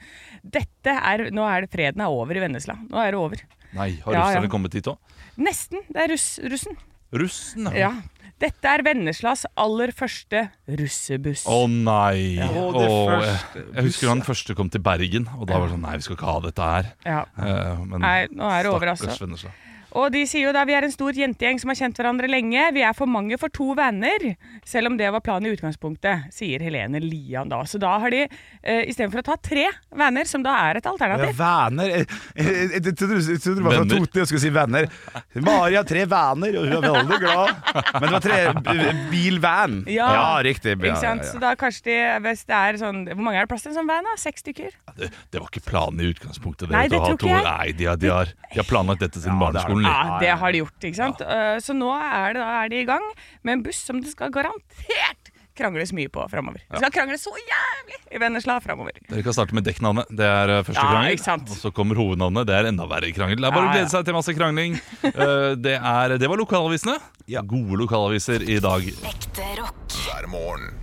[SPEAKER 5] Dette er, Nå er det freden er over i Vennesla. Nå er det over.
[SPEAKER 3] Nei, har
[SPEAKER 5] Ja,
[SPEAKER 3] russerne
[SPEAKER 5] ja.
[SPEAKER 3] kommet hit òg?
[SPEAKER 5] Nesten. Det er russ, russen.
[SPEAKER 3] Russen?
[SPEAKER 5] Ja. Dette er Venneslas aller første russebuss.
[SPEAKER 3] Å nei!
[SPEAKER 4] Og det
[SPEAKER 3] Å, jeg,
[SPEAKER 4] første
[SPEAKER 3] jeg husker han første kom til Bergen, og da var det sånn Nei, vi skal ikke ha dette her.
[SPEAKER 5] Ja.
[SPEAKER 3] Eh, men
[SPEAKER 5] Nei, nå er det over, altså.
[SPEAKER 3] stakkars Vennesla.
[SPEAKER 5] Og de sier jo da vi er en stor jentegjeng som har kjent hverandre lenge. Vi er for mange for to venner, selv om det var planen i utgangspunktet, sier Helene Lian da. Så da har de, eh, istedenfor å ta tre venner, som da er et alternativ
[SPEAKER 4] venner Jeg, jeg, jeg, trodde du- jeg trodde du var fra
[SPEAKER 3] Venner.
[SPEAKER 4] Toten og skulle si venner. Mari har tre vaner, og hun er veldig glad. Men det var tre b- bilvan.
[SPEAKER 5] Ja.
[SPEAKER 4] riktig. Ja,
[SPEAKER 5] Ikke sant?
[SPEAKER 4] ja,
[SPEAKER 5] Så
[SPEAKER 4] ja.
[SPEAKER 5] da kanskje de, hvis det er sånn Hvor mange er det plass til en sånn van? da? Seks stykker?
[SPEAKER 3] Ja, Det, det var ikke planen i utgangspunktet.
[SPEAKER 5] Nei, det
[SPEAKER 3] vet du, å ha
[SPEAKER 5] tror ikke
[SPEAKER 3] to-
[SPEAKER 5] jeg.
[SPEAKER 3] Nei, de har, de, har, de har planlagt dette siden
[SPEAKER 4] det har de.
[SPEAKER 3] barneskolen. de.
[SPEAKER 5] Ja, det har de gjort, ikke sant? Eh, Så nå er, det, da er de i gang med en buss som det skal garantert krangles mye på framover. Det skal krangles så jævlig i Vennesla framover.
[SPEAKER 3] Dere kan starte med dekknavnet. Det er eh, første
[SPEAKER 5] Ja,
[SPEAKER 3] krangel.
[SPEAKER 5] ikke sant.
[SPEAKER 3] Og så kommer hovednavnet. Det er enda verre krangel. Det er
[SPEAKER 5] Ja,
[SPEAKER 3] bare
[SPEAKER 5] ja.
[SPEAKER 3] å glede seg til masse krangling. Eh, det, er, det var lokalavisene. Gode lokalaviser i dag.
[SPEAKER 8] Ekte rock.
[SPEAKER 6] hver morgen.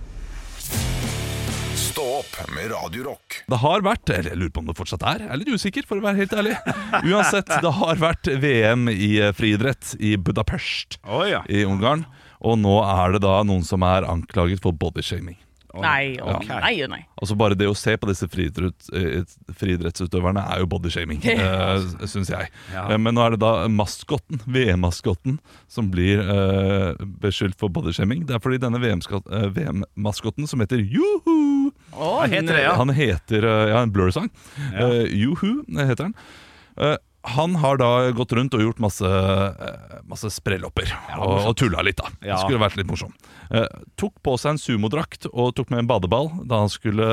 [SPEAKER 6] Stå opp med Radio Rock
[SPEAKER 3] Det har vært, eller jeg lurer på om det fortsatt er, jeg er litt usikker for å være helt ærlig. *laughs* Uansett, det har vært VM i eh, friidrett i Budapest
[SPEAKER 4] Å, ja.
[SPEAKER 3] i Ungarn. Og nå er det da noen som er anklaget for bodyshaming.
[SPEAKER 5] Nei og nei og nei.
[SPEAKER 3] Altså Bare det å se på disse friidrett, eh, friidrettsutøverne er jo bodyshaming, uh, syns jeg. Eh, men nå er det da maskotten, VM-maskotten, som blir eh, beskyldt for bodyshaming. Det er fordi denne VM-maskotten, som heter Juhu
[SPEAKER 4] Hva heter det, ja?
[SPEAKER 3] Han heter eh, Ja, en Blur-sang. Eh, Juhu heter han. Eh, han har da gått rundt og gjort masse, eh, masse sprellopper og, og tulla litt, da.
[SPEAKER 4] Ja.
[SPEAKER 3] Det skulle vært litt morsom. Eh, tok på seg en sumodrakt og tok med en badeball da *laughs* han skulle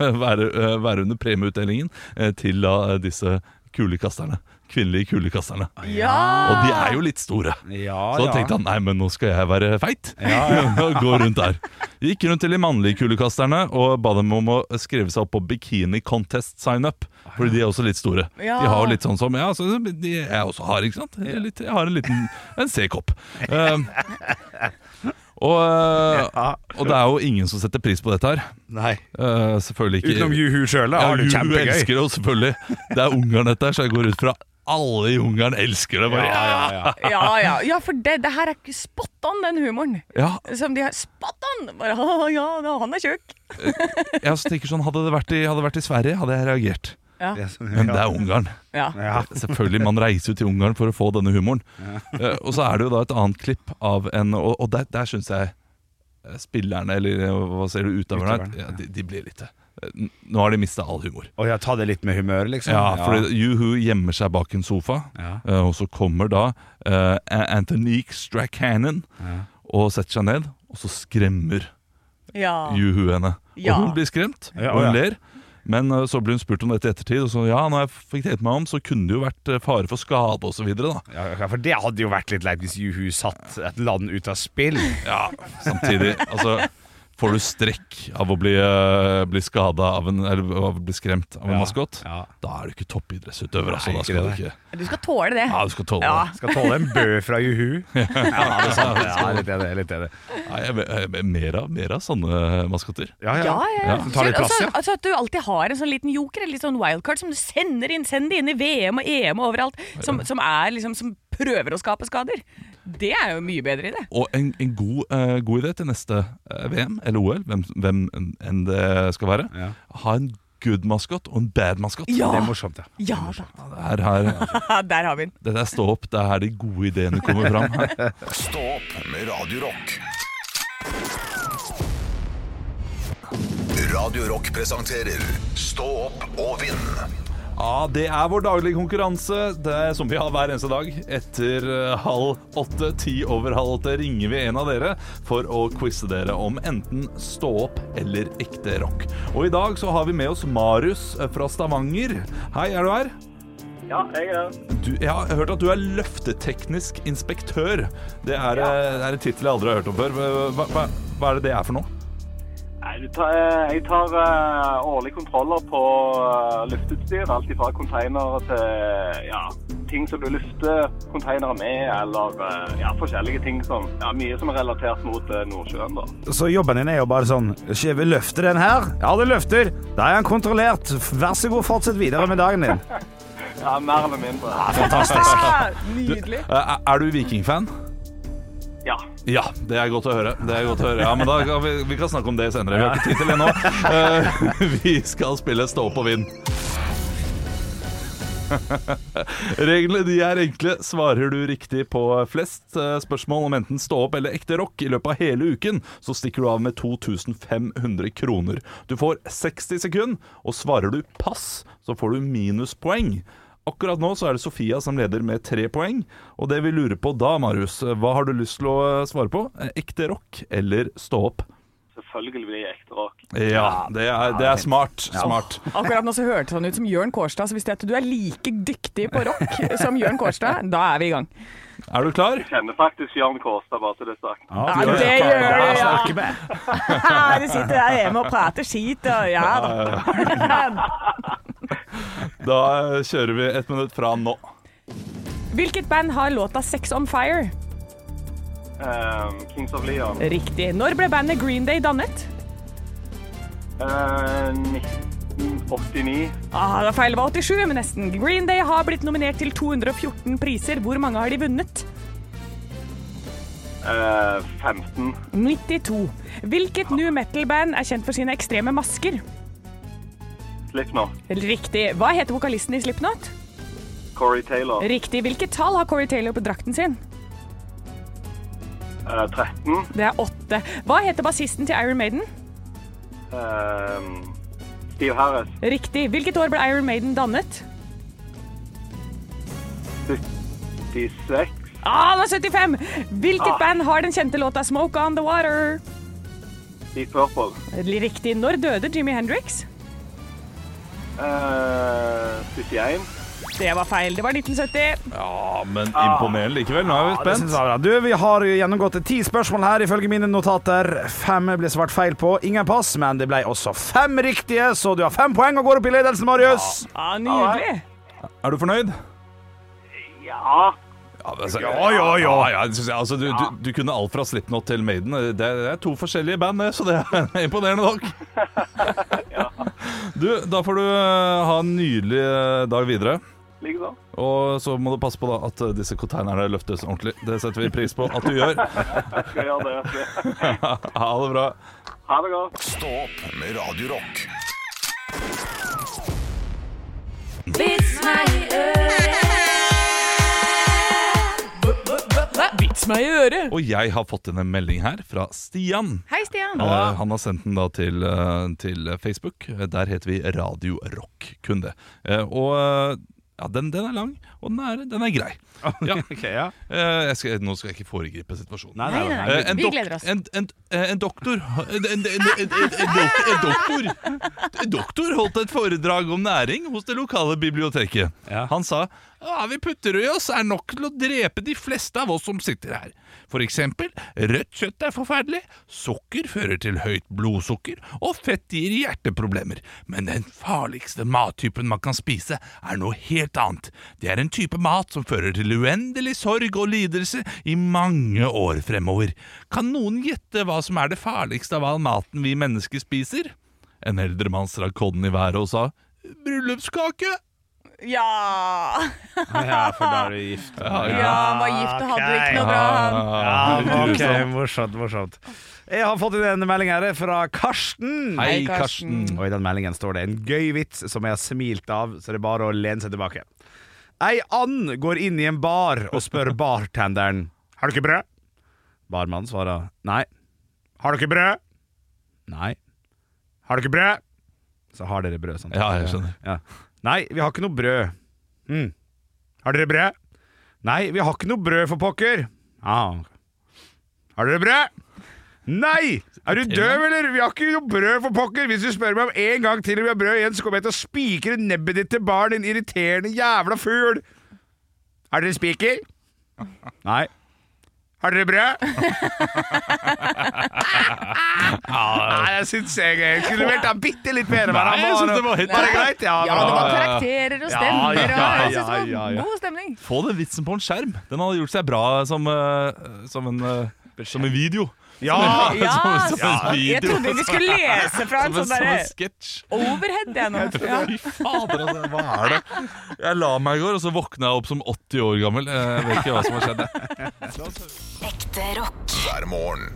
[SPEAKER 3] være, eh, være under premieutdelingen eh, til da, eh, disse kulekasterne. Kvinnelige kulekasterne.
[SPEAKER 5] Ja!
[SPEAKER 3] Og de er jo litt store.
[SPEAKER 4] Ja,
[SPEAKER 3] Så da
[SPEAKER 4] Ah, ja.
[SPEAKER 3] tenkte han nei, men nå skal jeg være feit. *laughs* Og Gå rundt der. Gikk rundt til de mannlige kulekasterne og ba dem om å skrive seg opp på Bikini Contest sign-up.
[SPEAKER 4] Ah,
[SPEAKER 3] Fordi de er også litt store.
[SPEAKER 5] Ja.
[SPEAKER 3] De har jo litt sånn som ja, så de jeg også har, ikke sant. Jeg, er litt, jeg har en liten en C-kopp. Um, og,
[SPEAKER 4] Ja.
[SPEAKER 3] og det er jo ingen som setter pris på dette her.
[SPEAKER 4] Nei.
[SPEAKER 3] Uh, selvfølgelig ikke.
[SPEAKER 4] Utenom Juhu sjøl, da.
[SPEAKER 3] Ja,
[SPEAKER 4] Har du
[SPEAKER 3] Juhu
[SPEAKER 4] kjempegøy.
[SPEAKER 3] elsker det jo selvfølgelig. Det er Ungarn dette her, så jeg går ut fra alle i Ungarn elsker det. Bare, ja, ja, ja.
[SPEAKER 5] Ja, ja. ja, for det, det her er ikke spot on, den humoren. Som de har Spot on! Bare, *laughs* «Å, ja, da, han er tjukk.
[SPEAKER 3] jeg også tenker sånn, hadde det, vært i, hadde det vært i Sverige, hadde jeg reagert. Men det er Ungarn.
[SPEAKER 5] Ja.
[SPEAKER 4] Ja.
[SPEAKER 3] Selvfølgelig, Man reiser jo til Ungarn for å få denne humoren. Eh, og så er det jo da et annet klipp av en Og, og der, der syns jeg eh, spillerne, eller eh, hva sier du, utøverne,
[SPEAKER 4] Utøverne,
[SPEAKER 3] ja, de, de blir litt eh, n- Nå har de mista all humor.
[SPEAKER 4] Å ja, ta det litt med humør, liksom.
[SPEAKER 3] Ja, for Juhu gjemmer seg bak en sofa,
[SPEAKER 4] Ja.
[SPEAKER 3] eh, og så kommer da eh, Antonique Strachannon og setter seg ned, og så skremmer
[SPEAKER 5] ja.
[SPEAKER 3] Juhu henne.
[SPEAKER 5] Ja.
[SPEAKER 3] Og hun blir skremt,
[SPEAKER 4] Ja,
[SPEAKER 3] og
[SPEAKER 4] ja.
[SPEAKER 3] hun ler. Men eh, så ble hun spurt om dette i ettertid, og så ja, når jeg fikk tenkt meg om, så kunne det jo vært eh, fare for skade osv. da.
[SPEAKER 4] Ja, ja, for det hadde jo vært litt leit hvis Juhu satt et land ut av spill.
[SPEAKER 3] Ja,
[SPEAKER 5] *laughs*
[SPEAKER 3] samtidig. Altså, får du strekk av å bli, uh, bli skada av en Eller av å bli skremt av en
[SPEAKER 4] Ja,
[SPEAKER 3] maskot,
[SPEAKER 4] ja.
[SPEAKER 3] da er du ikke toppidrettsutøver. Altså,
[SPEAKER 4] Nei,
[SPEAKER 3] da
[SPEAKER 4] ikke
[SPEAKER 3] skal du
[SPEAKER 4] det.
[SPEAKER 3] ikke
[SPEAKER 5] Du skal tåle det.
[SPEAKER 3] Ja, du skal tåle
[SPEAKER 5] Ja.
[SPEAKER 3] det.
[SPEAKER 4] Skal tåle en bø fra Juhu.
[SPEAKER 3] *laughs*
[SPEAKER 4] Ja, det er sant. Ja, litt enig. Litt enig.
[SPEAKER 3] Nei, jeg, jeg, jeg, mer, av, mer av sånne eh, maskoter.
[SPEAKER 4] Ja, ja.
[SPEAKER 5] Ja, ja.
[SPEAKER 4] Så tar litt plass,
[SPEAKER 5] altså,
[SPEAKER 4] ja.
[SPEAKER 5] altså at du alltid har en sånn liten joker, en litt sånn wildcard, som du sender inn, sender inn i VM og EM og overalt, som, som, er liksom, som prøver å skape skader. Det er jo mye bedre i det.
[SPEAKER 3] Og en, en god, eh, god idé til neste eh, VM eller OL, hvem, hvem enn det skal være,
[SPEAKER 4] Ja.
[SPEAKER 3] ha en good maskot og en bad maskot.
[SPEAKER 4] Det
[SPEAKER 5] Ja,
[SPEAKER 4] er morsomt, ja.
[SPEAKER 5] ja da. *laughs*
[SPEAKER 3] Her, her,
[SPEAKER 5] Der har vi den.
[SPEAKER 3] dette er stå opp, det er her de gode ideene kommer fram. Her.
[SPEAKER 6] Stå opp med Radio Rock. Radio Rock presenterer Stå opp og vinn.
[SPEAKER 3] *laughs* Ja, det er vår daglige konkurranse, det er som vi har hver eneste dag. Etter eh, halv åtte, ti over halv åtte, ringer vi en av dere for å quize dere om enten stå opp eller ekte rock. Og i dag så har vi med oss Marius eh, fra Stavanger. Hei, er du her?
[SPEAKER 9] Ja, jeg er
[SPEAKER 3] Du, jeg har hørt at du er løfteteknisk inspektør. Det er, eh, det er en tittel jeg aldri har hørt om før. Hva, hva, hva er det det er for noe?
[SPEAKER 9] Nei, du tar, jeg tar eh, årlige kontroller på eh, luftutstyr. Alt fra containere til ja, ting som du lufter containere med, eller eh, ja, forskjellige ting som ja, Mye som er relatert mot eh, Nordsjøen, da.
[SPEAKER 4] Så jobben din er jo bare sånn Skal vi løfte den her? Ja, det løfter. Da er han kontrollert. Vær så god, fortsett videre med dagen din.
[SPEAKER 9] Ja, Mer eller mindre.
[SPEAKER 4] Fantastisk.
[SPEAKER 5] Nydelig.
[SPEAKER 3] Eh, Er du vikingfan?
[SPEAKER 9] Ja.
[SPEAKER 3] Ja, det er godt å høre. Det er godt å høre. Ja, men da kan vi, vi kan snakke om det senere. Vi har ikke tid til det nå. Eh, *laughs* vi skal spille Stå opp og vinn. Reglene de er enkle. Svarer du riktig på flest eh, spørsmål om enten stå opp eller ekte rock i løpet av hele uken, så stikker du av med 2500 kroner. Du får 60 sekunder, og svarer du pass, så får du minuspoeng. Akkurat nå så er det Sofia som leder med tre poeng, og det vi lurer på da, Marius, hva har du lyst til å eh, svare på? Eh, Ekte rock eller stå opp?
[SPEAKER 9] Selvfølgelig blir jeg ekte rock.
[SPEAKER 3] Ja, det er, det er smart. smart.
[SPEAKER 5] Akkurat nå så hørtes han ut som Jørn Kårstad, så hvis det er at du er like dyktig på rock
[SPEAKER 4] *laughs*
[SPEAKER 5] som Jørn Kårstad, da er vi i gang.
[SPEAKER 3] Er du klar?
[SPEAKER 9] Kjenner faktisk Jørn Kårstad, bare så det er sagt.
[SPEAKER 4] Ja,
[SPEAKER 5] Ja, det gjør det, ja.
[SPEAKER 4] snakker vi.
[SPEAKER 5] *laughs* Du sitter der hjemme og prater skit og ja da.
[SPEAKER 3] Da eh, kjører vi ett minutt fra nå.
[SPEAKER 5] *laughs* Hvilket band har låta Sex on Fire?
[SPEAKER 9] Eh, Kings of Leon.
[SPEAKER 5] Riktig. Når ble bandet Green Day dannet?
[SPEAKER 9] Eh, 1989.
[SPEAKER 5] Ah, da feil var 87, men nesten. Green Day har blitt nominert til 214 priser. Hvor mange har de vunnet?
[SPEAKER 9] eh, 15.
[SPEAKER 5] 92. Hvilket new metal-band er kjent for sine ekstreme masker?
[SPEAKER 9] Slipknot.
[SPEAKER 5] Riktig. Hva heter vokalisten i Slipknot?
[SPEAKER 9] Corey Taylor.
[SPEAKER 5] Riktig. Hvilket tall har Corey Taylor på drakten sin?
[SPEAKER 9] eh, 13.
[SPEAKER 5] Det er åtte. Hva heter bassisten til Iron Maiden?
[SPEAKER 9] Ehm, Steve Harris,
[SPEAKER 5] Riktig. Hvilket år ble Iron Maiden dannet?
[SPEAKER 9] 76.
[SPEAKER 5] Ah, det var 75! Hvilket band har den kjente låta 'Smoke On The Water'?
[SPEAKER 9] Deep Purple.
[SPEAKER 5] Riktig. Når døde Jimmy Hendrix?
[SPEAKER 9] Eh, 71.
[SPEAKER 5] Det var feil. Det var 1970.
[SPEAKER 3] Ja, men imponerende likevel. Nå er vi
[SPEAKER 4] Ja, det synes
[SPEAKER 3] spent.
[SPEAKER 4] jeg var bra. Du, Vi har jo gjennomgått ti spørsmål her, ifølge mine notater. Fem ble svart feil på. Ingen pass, men det ble også fem riktige, så du har fem poeng og går opp i ledelsen, Marius.
[SPEAKER 5] Ja, Ah, Nydelig.
[SPEAKER 3] Er du fornøyd?
[SPEAKER 9] Ja,
[SPEAKER 3] Ja, altså, ja, ja, ja, ja, det synes jeg, altså, du, du, du kunne alt fra Slipknot til Maiden. Det er, det er to forskjellige band, det, så det er *laughs* imponerende nok. Du, da får du eh, ha en nydelig eh, dag videre.
[SPEAKER 9] liksom.
[SPEAKER 3] Og så må du passe på da at eh, disse konteinerne løftes ordentlig. Det setter vi pris på at du gjør. *laughs*
[SPEAKER 9] Skal jeg gjøre det.
[SPEAKER 3] Ha det bra.
[SPEAKER 9] Ha det godt.
[SPEAKER 6] Stå opp med Radio Rock.
[SPEAKER 5] Vits meg i øret.
[SPEAKER 3] Og jeg har fått inn en melding her fra Stian.
[SPEAKER 5] Hei, Stian.
[SPEAKER 3] Eh, han har sendt den da til, eh, til Facebook. Der heter vi Radio Rock Kunde. Eh, og eh, ja, den, den er lang, og den er, den er grei. Ja.
[SPEAKER 4] Ok, ja.
[SPEAKER 3] Eh, jeg skal, nå skal jeg ikke foregripe situasjonen.
[SPEAKER 4] Nei, nei, nei.
[SPEAKER 3] Eh, en
[SPEAKER 5] Vi
[SPEAKER 3] dok-
[SPEAKER 5] gleder oss.
[SPEAKER 3] En, en, eh, en doktor en, en, en, en, en, en, dok- en doktor En doktor holdt et foredrag om næring hos det lokale biblioteket.
[SPEAKER 4] Ja.
[SPEAKER 3] Han sa «Ja, vi putter i oss er nok til å drepe de fleste av oss som sitter her. For eksempel, rødt kjøtt er forferdelig, sukker fører til høyt blodsukker, og fett gir hjerteproblemer. Men den farligste mattypen man kan spise, er noe helt annet. Det er en type mat som fører til uendelig sorg og lidelse i mange år fremover. Kan noen gjette hva som er det farligste av all maten vi mennesker spiser? En eldre mann strakk hånden i været og sa bryllupskake.
[SPEAKER 5] Ja.
[SPEAKER 4] ja, for da er du gift.
[SPEAKER 3] Ja,
[SPEAKER 5] ja, han var gift og hadde det ikke noe bra. han.
[SPEAKER 4] Ja, ok, morsomt, morsomt. Jeg har fått inn en melding her fra Karsten.
[SPEAKER 3] Hei,
[SPEAKER 5] Hei, Karsten.
[SPEAKER 3] Karsten.
[SPEAKER 4] Mm, Og i den meldingen står det en gøy vits som jeg har smilt av, så det er bare å lene seg tilbake. Ei and går inn i en bar og *laughs* spør bartenderen Har du ikke brød? Barmannen svarer nei. Har du ikke brød? Nei. Har du ikke brød? Så har dere brød, sant?
[SPEAKER 3] Ja, jeg skjønner.
[SPEAKER 4] Ja. Nei, vi har ikke noe brød. Mm. Har dere brød? Nei, vi har ikke noe brød, for pokker. Ah. Har dere brød? Nei! Er du døv, eller? Vi har ikke noe brød, for pokker! Hvis du spør meg om en gang til om vi har brød igjen, så kommer jeg til å spikre nebbet ditt til barn, din irriterende jævla fugl! Er dere spiker? Nei. Har dere brød? Nei, jeg syns jeg jeg skulle vært da bitte litt mer. men
[SPEAKER 3] Nei, jeg synes det var helt
[SPEAKER 4] det greit? Ja,
[SPEAKER 5] Ja, det var
[SPEAKER 4] bra.
[SPEAKER 5] karakterer og stemmer.
[SPEAKER 4] Ah. Ja, ja,
[SPEAKER 5] og jeg synes det
[SPEAKER 4] ja,
[SPEAKER 5] var
[SPEAKER 4] ja, ja.
[SPEAKER 5] God stemning.
[SPEAKER 3] Få den vitsen på en skjerm. Den hadde gjort seg bra som, eh, som, en, eh, som en video.
[SPEAKER 4] Ja,
[SPEAKER 5] Ja,
[SPEAKER 3] *laughs* Som- som en
[SPEAKER 5] jeg
[SPEAKER 3] video.
[SPEAKER 5] trodde vi skulle lese fra
[SPEAKER 4] *laughs*
[SPEAKER 5] en
[SPEAKER 3] Som
[SPEAKER 5] sånn
[SPEAKER 3] en, som
[SPEAKER 5] derre
[SPEAKER 3] en sketsj.
[SPEAKER 5] overhead, jeg nå. Ja.
[SPEAKER 3] Fy fader, altså, hva er det? Jeg la meg i går, og så våkna jeg opp som 80 år gammel. Jeg vet ikke hva som har skjedd. jeg.
[SPEAKER 8] Ekte rock.
[SPEAKER 6] hver morgen.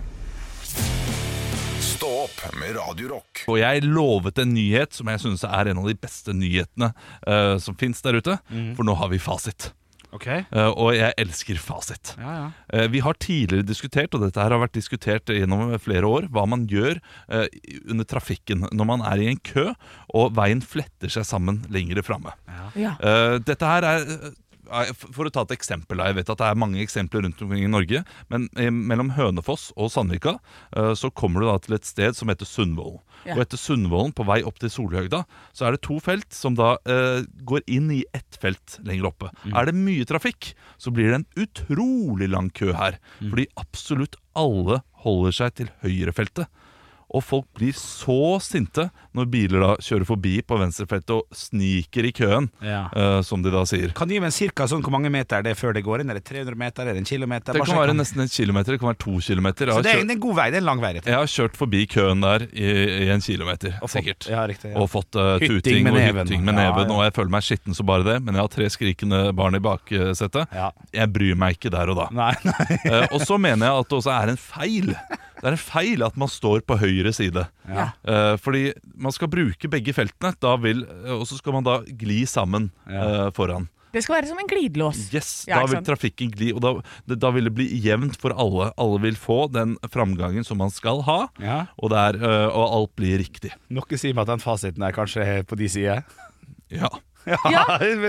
[SPEAKER 6] Stå opp med Radio Rock.
[SPEAKER 3] Og jeg lovet en nyhet som jeg syns er en av de beste nyhetene eh, som fins der ute. For nå har vi fasit.
[SPEAKER 4] Ok.
[SPEAKER 3] Eh, og jeg elsker fasit.
[SPEAKER 4] Ja, ja.
[SPEAKER 3] Eh, Vi har tidligere diskutert, og dette her har vært diskutert gjennom flere år, hva man gjør eh, under trafikken når man er i en kø og veien fletter seg sammen lengre framme.
[SPEAKER 5] Ja.
[SPEAKER 3] Eh, Dette her er eh, for å ta et eksempel, da. jeg vet at det er mange eksempler rundt omkring i Norge, men eh, mellom Hønefoss og Sandvika eh, så kommer du da til et sted som heter Sundvolden.
[SPEAKER 5] Ja.
[SPEAKER 3] Og etter Sundvolden, på vei opp til Solhøgda, så er det to felt som da eh, går inn i ett felt lenger oppe. Er det mye trafikk, så blir det en utrolig lang kø her, fordi absolutt alle holder seg til høyrefeltet. Og folk blir så sinte når biler da kjører forbi på venstrefeltet og sniker i køen,
[SPEAKER 4] Ja.
[SPEAKER 3] eh, som de da sier.
[SPEAKER 4] Kan du gi meg en cirka sånn hvor mange meter det er før det går inn? Er det 300 meter? Er det en kilometer?
[SPEAKER 3] Det
[SPEAKER 4] Bare
[SPEAKER 3] kan
[SPEAKER 4] sjekk
[SPEAKER 3] være
[SPEAKER 4] om-
[SPEAKER 3] nesten en kilometer, det kan være to kilometer. Jeg
[SPEAKER 4] Så
[SPEAKER 3] har,
[SPEAKER 4] det er
[SPEAKER 3] kjørt,
[SPEAKER 4] en en god vei. Det er en lang vei. rett og slett.
[SPEAKER 3] jeg har kjørt forbi køen der i, i en kilometer,
[SPEAKER 4] Og fått-
[SPEAKER 3] sikkert.
[SPEAKER 4] Ja, riktig. Ja.
[SPEAKER 3] Og fått eh,
[SPEAKER 4] Hytting
[SPEAKER 3] tuting
[SPEAKER 4] med
[SPEAKER 3] og
[SPEAKER 4] neven.
[SPEAKER 3] hytting med
[SPEAKER 4] Ja,
[SPEAKER 3] neven,
[SPEAKER 4] ja.
[SPEAKER 3] og jeg føler meg skitten som bare det, men jeg har tre skrikende barn i baksetet.
[SPEAKER 4] Ja.
[SPEAKER 3] Jeg bryr meg ikke der og da.
[SPEAKER 4] Nei, nei.
[SPEAKER 3] Eh, og så mener jeg at det også er en feil. Det er en feil at man står på høyre side.
[SPEAKER 4] Ja.
[SPEAKER 3] Eh, fordi man skal bruke begge feltene, da vil, eh, og så skal man da gli sammen
[SPEAKER 4] Ja.
[SPEAKER 3] eh, foran.
[SPEAKER 5] Det skal være som en glidelås.
[SPEAKER 3] Yes,
[SPEAKER 5] Ja,
[SPEAKER 3] Da
[SPEAKER 5] ikke
[SPEAKER 3] vil
[SPEAKER 5] sant?
[SPEAKER 3] trafikken gli, og da, det- da vil det bli jevnt for alle. Alle vil få den framgangen som man skal ha,
[SPEAKER 4] Ja.
[SPEAKER 3] og, det er, eh, og alt blir riktig.
[SPEAKER 4] Noe sier meg at den fasiten er kanskje på de sider.
[SPEAKER 3] Ja.
[SPEAKER 5] *laughs*
[SPEAKER 4] *laughs*
[SPEAKER 5] Ja.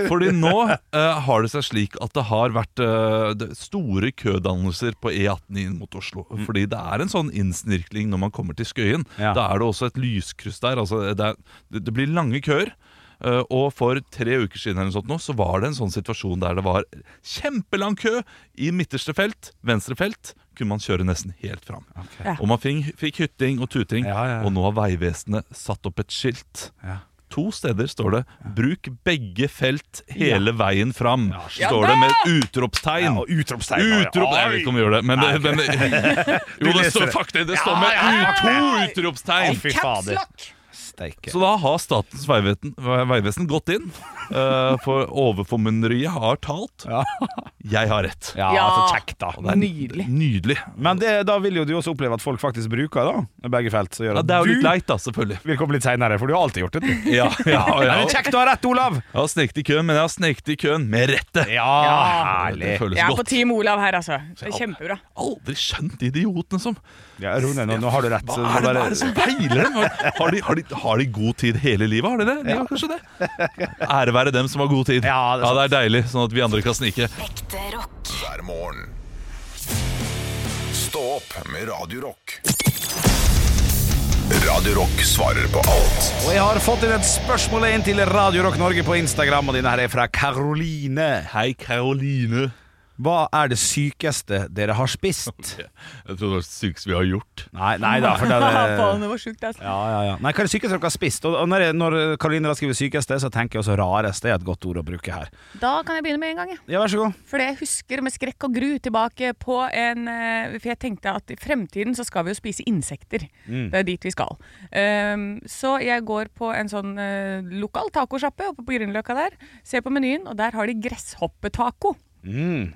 [SPEAKER 3] Fordi nå eh, har det seg slik at det har vært eh, det- store kødannelser på E18 inn mot Oslo. Fordi det er en sånn innsnirkling når man kommer til Skøyen.
[SPEAKER 4] Mm. Ja.
[SPEAKER 3] Da er det også et lyskryss der. Altså det, er, det, det blir lange køer. Eh, Og for tre uker siden eller noe sånt nå, så var det en sånn situasjon der det var kjempelang kø i midterste felt, venstre felt, kunne man kjøre nesten helt fram.
[SPEAKER 5] Ja.
[SPEAKER 3] Og man fikk, fikk hytting og tutring,
[SPEAKER 4] Ja, ja, ja.
[SPEAKER 3] og nå har Vegvesenet satt opp et skilt.
[SPEAKER 4] Ja.
[SPEAKER 3] To steder står det 'bruk begge felt hele veien fram'.
[SPEAKER 5] Ja
[SPEAKER 3] står
[SPEAKER 5] da!
[SPEAKER 3] det med utropstegn.
[SPEAKER 4] og utropstegn. ja, ja.
[SPEAKER 3] Utrop... Jeg vet ikke om vi gjør det, men det, men
[SPEAKER 4] *laughs*
[SPEAKER 3] Jo, det
[SPEAKER 4] leser
[SPEAKER 3] står
[SPEAKER 4] det.
[SPEAKER 3] faktisk det
[SPEAKER 4] Ja,
[SPEAKER 3] står med
[SPEAKER 4] ja, ja,
[SPEAKER 3] ut- to utropstegn!
[SPEAKER 4] Å, fy
[SPEAKER 5] Caps
[SPEAKER 4] fader.
[SPEAKER 5] lock!
[SPEAKER 4] Steike.
[SPEAKER 3] Så da har Statens vegvesen, vegvesen gått inn, eh, for overformynderiet har talt.
[SPEAKER 4] Ja.
[SPEAKER 3] Jeg har rett.
[SPEAKER 4] Ja,
[SPEAKER 5] Ja.
[SPEAKER 4] så kjekt, da.
[SPEAKER 3] Det er
[SPEAKER 5] Nydelig.
[SPEAKER 3] Nydelig.
[SPEAKER 4] Men det, da vil jo du også oppleve at folk faktisk bruker da begge felt. Så gjør
[SPEAKER 3] Ja,
[SPEAKER 4] at
[SPEAKER 3] det er jo litt
[SPEAKER 4] du
[SPEAKER 3] leit, da, selvfølgelig.
[SPEAKER 4] vil komme litt seinere, for du har alltid gjort det. du. *laughs*
[SPEAKER 3] Ja, *laughs* ja, ja.
[SPEAKER 4] Men det er kjekt å ha rett, Olav!
[SPEAKER 3] Jeg har sneket i køen, men jeg har sneket i køen med rette.
[SPEAKER 4] Ja, herlig.
[SPEAKER 3] Det føles
[SPEAKER 5] Jeg er på
[SPEAKER 3] godt.
[SPEAKER 5] Team Olav her, altså. Det er kjempebra.
[SPEAKER 3] Aldri skjønt de idiotene som
[SPEAKER 4] Ja, Ro ned nå. Nå har du rett.
[SPEAKER 3] Hva
[SPEAKER 4] så
[SPEAKER 3] er det, hva
[SPEAKER 4] bare-
[SPEAKER 3] er *laughs* det som feiler dem? Har- Har de, har, de, har de god tid hele livet? Har de det? De har kanskje det. Ære være dem som har god tid.
[SPEAKER 4] Ja, det er
[SPEAKER 3] *laughs* Ja, det er deilig, sånn at vi andre kan snike.
[SPEAKER 8] Ekte rock.
[SPEAKER 6] hver morgen. Stå opp med Radio Rock. Radio Rock svarer på alt
[SPEAKER 4] Og jeg har fått inn et spørsmål inn til Radio Rock Norge på Instagram, og denne her er fra Karoline.
[SPEAKER 3] Hei, Karoline.
[SPEAKER 4] Hva er det sykeste dere har spist?
[SPEAKER 3] Jeg tror det var det sykeste vi har gjort.
[SPEAKER 4] Nei, nei da, for
[SPEAKER 5] *laughs*
[SPEAKER 4] det
[SPEAKER 5] Faen,
[SPEAKER 4] er
[SPEAKER 5] det var sjukt, altså.
[SPEAKER 4] ja, ja, ja. Nei, Hva er det sykeste dere har spist? Og og når, jeg- når Karoline da skriver 'sykeste', så tenker jeg også 'rareste' er et godt ord å bruke her.
[SPEAKER 5] Da kan jeg begynne med en gang. jeg.
[SPEAKER 4] Ja, vær så god.
[SPEAKER 5] For det jeg husker med skrekk og gru tilbake på en eh, For jeg tenkte at i fremtiden så skal vi jo spise insekter.
[SPEAKER 4] Mm.
[SPEAKER 5] Det er dit vi skal. Ehm, så jeg går på en sånn eh, lokal tacosjappe oppe på Grünerløkka der. Ser på menyen, og der har de gresshoppetaco.
[SPEAKER 4] Mm.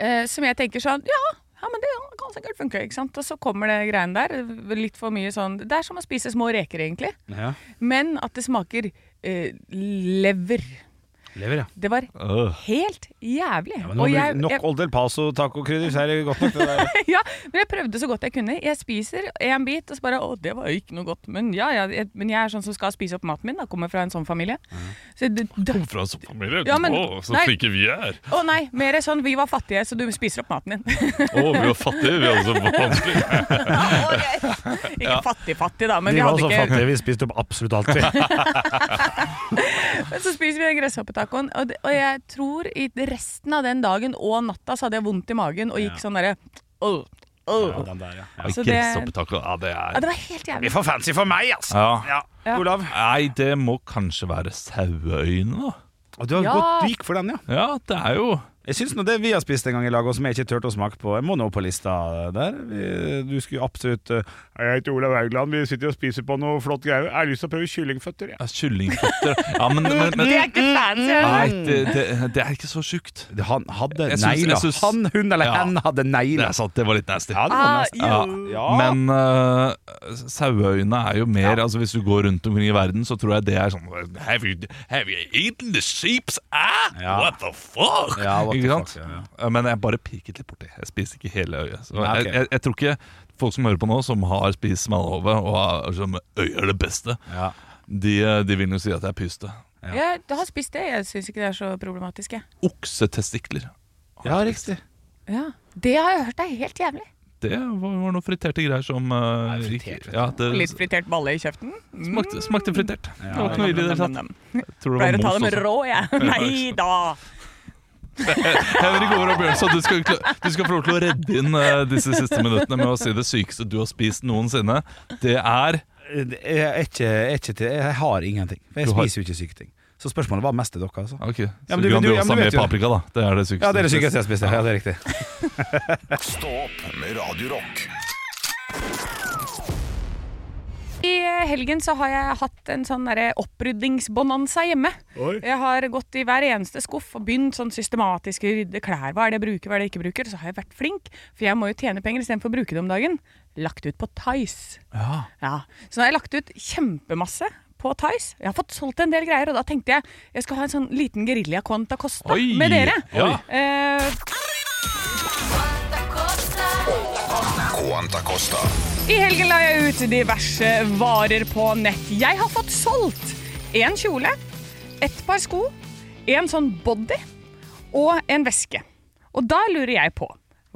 [SPEAKER 5] Eh, som jeg tenker sånn Ja, ja men det kan sikkert funke. Ikke sant? Og så kommer det greiene der. Litt for mye sånn Det er som å spise små reker, egentlig.
[SPEAKER 4] Ja.
[SPEAKER 5] Men at det smaker eh, lever.
[SPEAKER 4] Lever, ja.
[SPEAKER 5] Det var
[SPEAKER 3] Øh.
[SPEAKER 5] helt jævlig.
[SPEAKER 4] Men nå
[SPEAKER 5] Og
[SPEAKER 4] blir
[SPEAKER 5] jeg-
[SPEAKER 4] det nok
[SPEAKER 5] jeg-
[SPEAKER 4] Old El Paso tacokrydder, så er det godt nok. Det der.
[SPEAKER 5] ja, *laughs* men jeg prøvde så godt jeg kunne. Jeg spiser en bit, og så bare Å, det var jo ikke noe godt. Men ja, ja, jeg, men jeg er sånn som skal spise opp maten min. Da kommer fra en sånn familie. Så det, det,
[SPEAKER 3] Fra en sånn familie.
[SPEAKER 5] Ja, men-
[SPEAKER 3] Å, så
[SPEAKER 5] nei.
[SPEAKER 3] flinke vi er.
[SPEAKER 5] å nei, mer sånn vi var fattige, så du spiser opp maten din. *laughs*
[SPEAKER 3] Å, vi var fattige. Vi hadde så vanskelig.
[SPEAKER 5] ikke fattig-fattig, da, men
[SPEAKER 4] Vi
[SPEAKER 5] vi
[SPEAKER 4] var
[SPEAKER 5] hadde
[SPEAKER 4] så
[SPEAKER 5] ikke
[SPEAKER 4] fattige, vi spiste opp absolutt alt. *laughs* vi.
[SPEAKER 5] Men så spiser vi den gresshoppetacoen, og, det- og jeg tror i resten av den dagen og natta så hadde jeg vondt i magen og gikk sånn derre Åh,
[SPEAKER 4] Ja,
[SPEAKER 5] åh.
[SPEAKER 4] den der, ja. Ja.
[SPEAKER 5] Så Altså, det-
[SPEAKER 3] Gresshoppetaco. Ja, det
[SPEAKER 5] Ja,
[SPEAKER 3] er
[SPEAKER 5] det var helt
[SPEAKER 4] Det er
[SPEAKER 5] jævlig.
[SPEAKER 4] for fancy for meg, altså.
[SPEAKER 3] Ja.
[SPEAKER 4] Ja.
[SPEAKER 5] Ja.
[SPEAKER 4] Olav?
[SPEAKER 3] Nei, det må kanskje være saueøyne, da.
[SPEAKER 4] Og du har
[SPEAKER 5] Ja.
[SPEAKER 4] gått dyk for den, ja.
[SPEAKER 3] Ja, det er jo
[SPEAKER 4] Jeg syns nå det vi har spist en gang i lag, og som jeg ikke turte å smake på, jeg må nå på lista der. Vi- Du skulle absolutt eh, Jeg heter Olav Haugland, vi sitter og spiser på noe flott greier. Jeg har lyst til å prøve kyllingføtter, jeg.
[SPEAKER 3] ja, kyllingføtter. Ja, men, men, men
[SPEAKER 5] Det er ikke fancy.
[SPEAKER 3] Nei,
[SPEAKER 4] Mm.
[SPEAKER 3] det, det, det er ikke så sjukt.
[SPEAKER 4] Han hadde
[SPEAKER 3] Jeg syns-
[SPEAKER 4] negler.
[SPEAKER 3] jeg syns-
[SPEAKER 4] Han, hun eller
[SPEAKER 3] Ja.
[SPEAKER 4] hen hadde
[SPEAKER 3] Det
[SPEAKER 4] negler.
[SPEAKER 3] er sant, det var litt nasty.
[SPEAKER 4] Ja, det var
[SPEAKER 5] Ah,
[SPEAKER 4] nesten-
[SPEAKER 3] Ja.
[SPEAKER 4] Ja.
[SPEAKER 3] Men uh, saueøyne er jo mer Altså Hvis du går rundt omkring i verden, så tror jeg det er sånn Have you, have you eaten the sheep's eye?
[SPEAKER 4] Ja.
[SPEAKER 3] What the fuck?
[SPEAKER 4] Ja, what the
[SPEAKER 3] ikke
[SPEAKER 4] fuck,
[SPEAKER 3] sant?
[SPEAKER 4] ja,
[SPEAKER 3] Men jeg bare pirket litt borti. Jeg spiser ikke hele øyet. Så
[SPEAKER 4] Nei, ok.
[SPEAKER 3] jeg, jeg, jeg tror ikke folk som hører på nå, som har spist smalahove, og har- som øyet er det beste,
[SPEAKER 4] Ja.
[SPEAKER 3] de, de vil jo si at jeg er pyste.
[SPEAKER 5] Jeg har spist det, jeg syns ikke det er så problematisk, jeg.
[SPEAKER 3] Oksetestikler.
[SPEAKER 4] ja, riktig.
[SPEAKER 5] Ja. Det har jeg hørt er helt jævlig.
[SPEAKER 3] Det var, var noen friterte greier som uh,
[SPEAKER 4] Nei, fritert,
[SPEAKER 3] gikk-
[SPEAKER 4] vet du.
[SPEAKER 3] ja, det,
[SPEAKER 5] Litt fritert balle i kjeften.
[SPEAKER 3] smakte, smakte fritert. Det var ikke noe ille i det hele tatt. Jeg tror det var
[SPEAKER 5] Pleier å ta
[SPEAKER 3] most
[SPEAKER 5] dem
[SPEAKER 3] også.
[SPEAKER 5] rå, jeg.
[SPEAKER 3] *laughs*
[SPEAKER 5] Nei da.
[SPEAKER 3] Henrik Over og Bjørnstad, du, skal kla- du skal få lov til å redde inn eh, disse siste minuttene med å si det sykeste du har spist noensinne. Det er
[SPEAKER 4] Eh, Jeg, er ikke, jeg, er ikke til, jeg har ingenting. For
[SPEAKER 3] Du
[SPEAKER 4] jeg
[SPEAKER 3] har-
[SPEAKER 4] spiser jo ikke syke ting. Så spørsmålet var mest til dere, altså.
[SPEAKER 3] Ok,
[SPEAKER 4] Ja,
[SPEAKER 3] så
[SPEAKER 4] men du- men du- ja,
[SPEAKER 3] Grandiosa
[SPEAKER 4] men du
[SPEAKER 3] med
[SPEAKER 4] vet jo-
[SPEAKER 3] paprika, da. Det er det sykeste.
[SPEAKER 4] Ja, det er det
[SPEAKER 3] du har
[SPEAKER 4] sykeste jeg spiste. Ja, det er riktig.
[SPEAKER 6] Stå opp med Radio Rock
[SPEAKER 5] I eh, helgen så har jeg hatt en sånn derre oppryddingsbonanza hjemme. Jeg har gått i hver eneste skuff og begynt sånn systematisk å rydde klær. Hva er det jeg bruker, hva er det jeg ikke bruker? Så har jeg vært flink, for jeg må jo tjene penger istedenfor å bruke det om dagen. Lagt ut på Tice.
[SPEAKER 3] Ja.
[SPEAKER 5] Ja, så nå har jeg lagt ut kjempemasse på Tice. Jeg har fått solgt en del greier, og da tenkte jeg jeg skal ha en sånn liten gerilja Quanta Costa
[SPEAKER 3] Oi!
[SPEAKER 5] med dere.
[SPEAKER 3] Ja.
[SPEAKER 5] Eh,
[SPEAKER 6] Quanta Costa
[SPEAKER 5] I helgen la jeg ut diverse varer på nett. Jeg har fått solgt en kjole, et par sko, en sånn body og en veske. Og da lurer jeg på,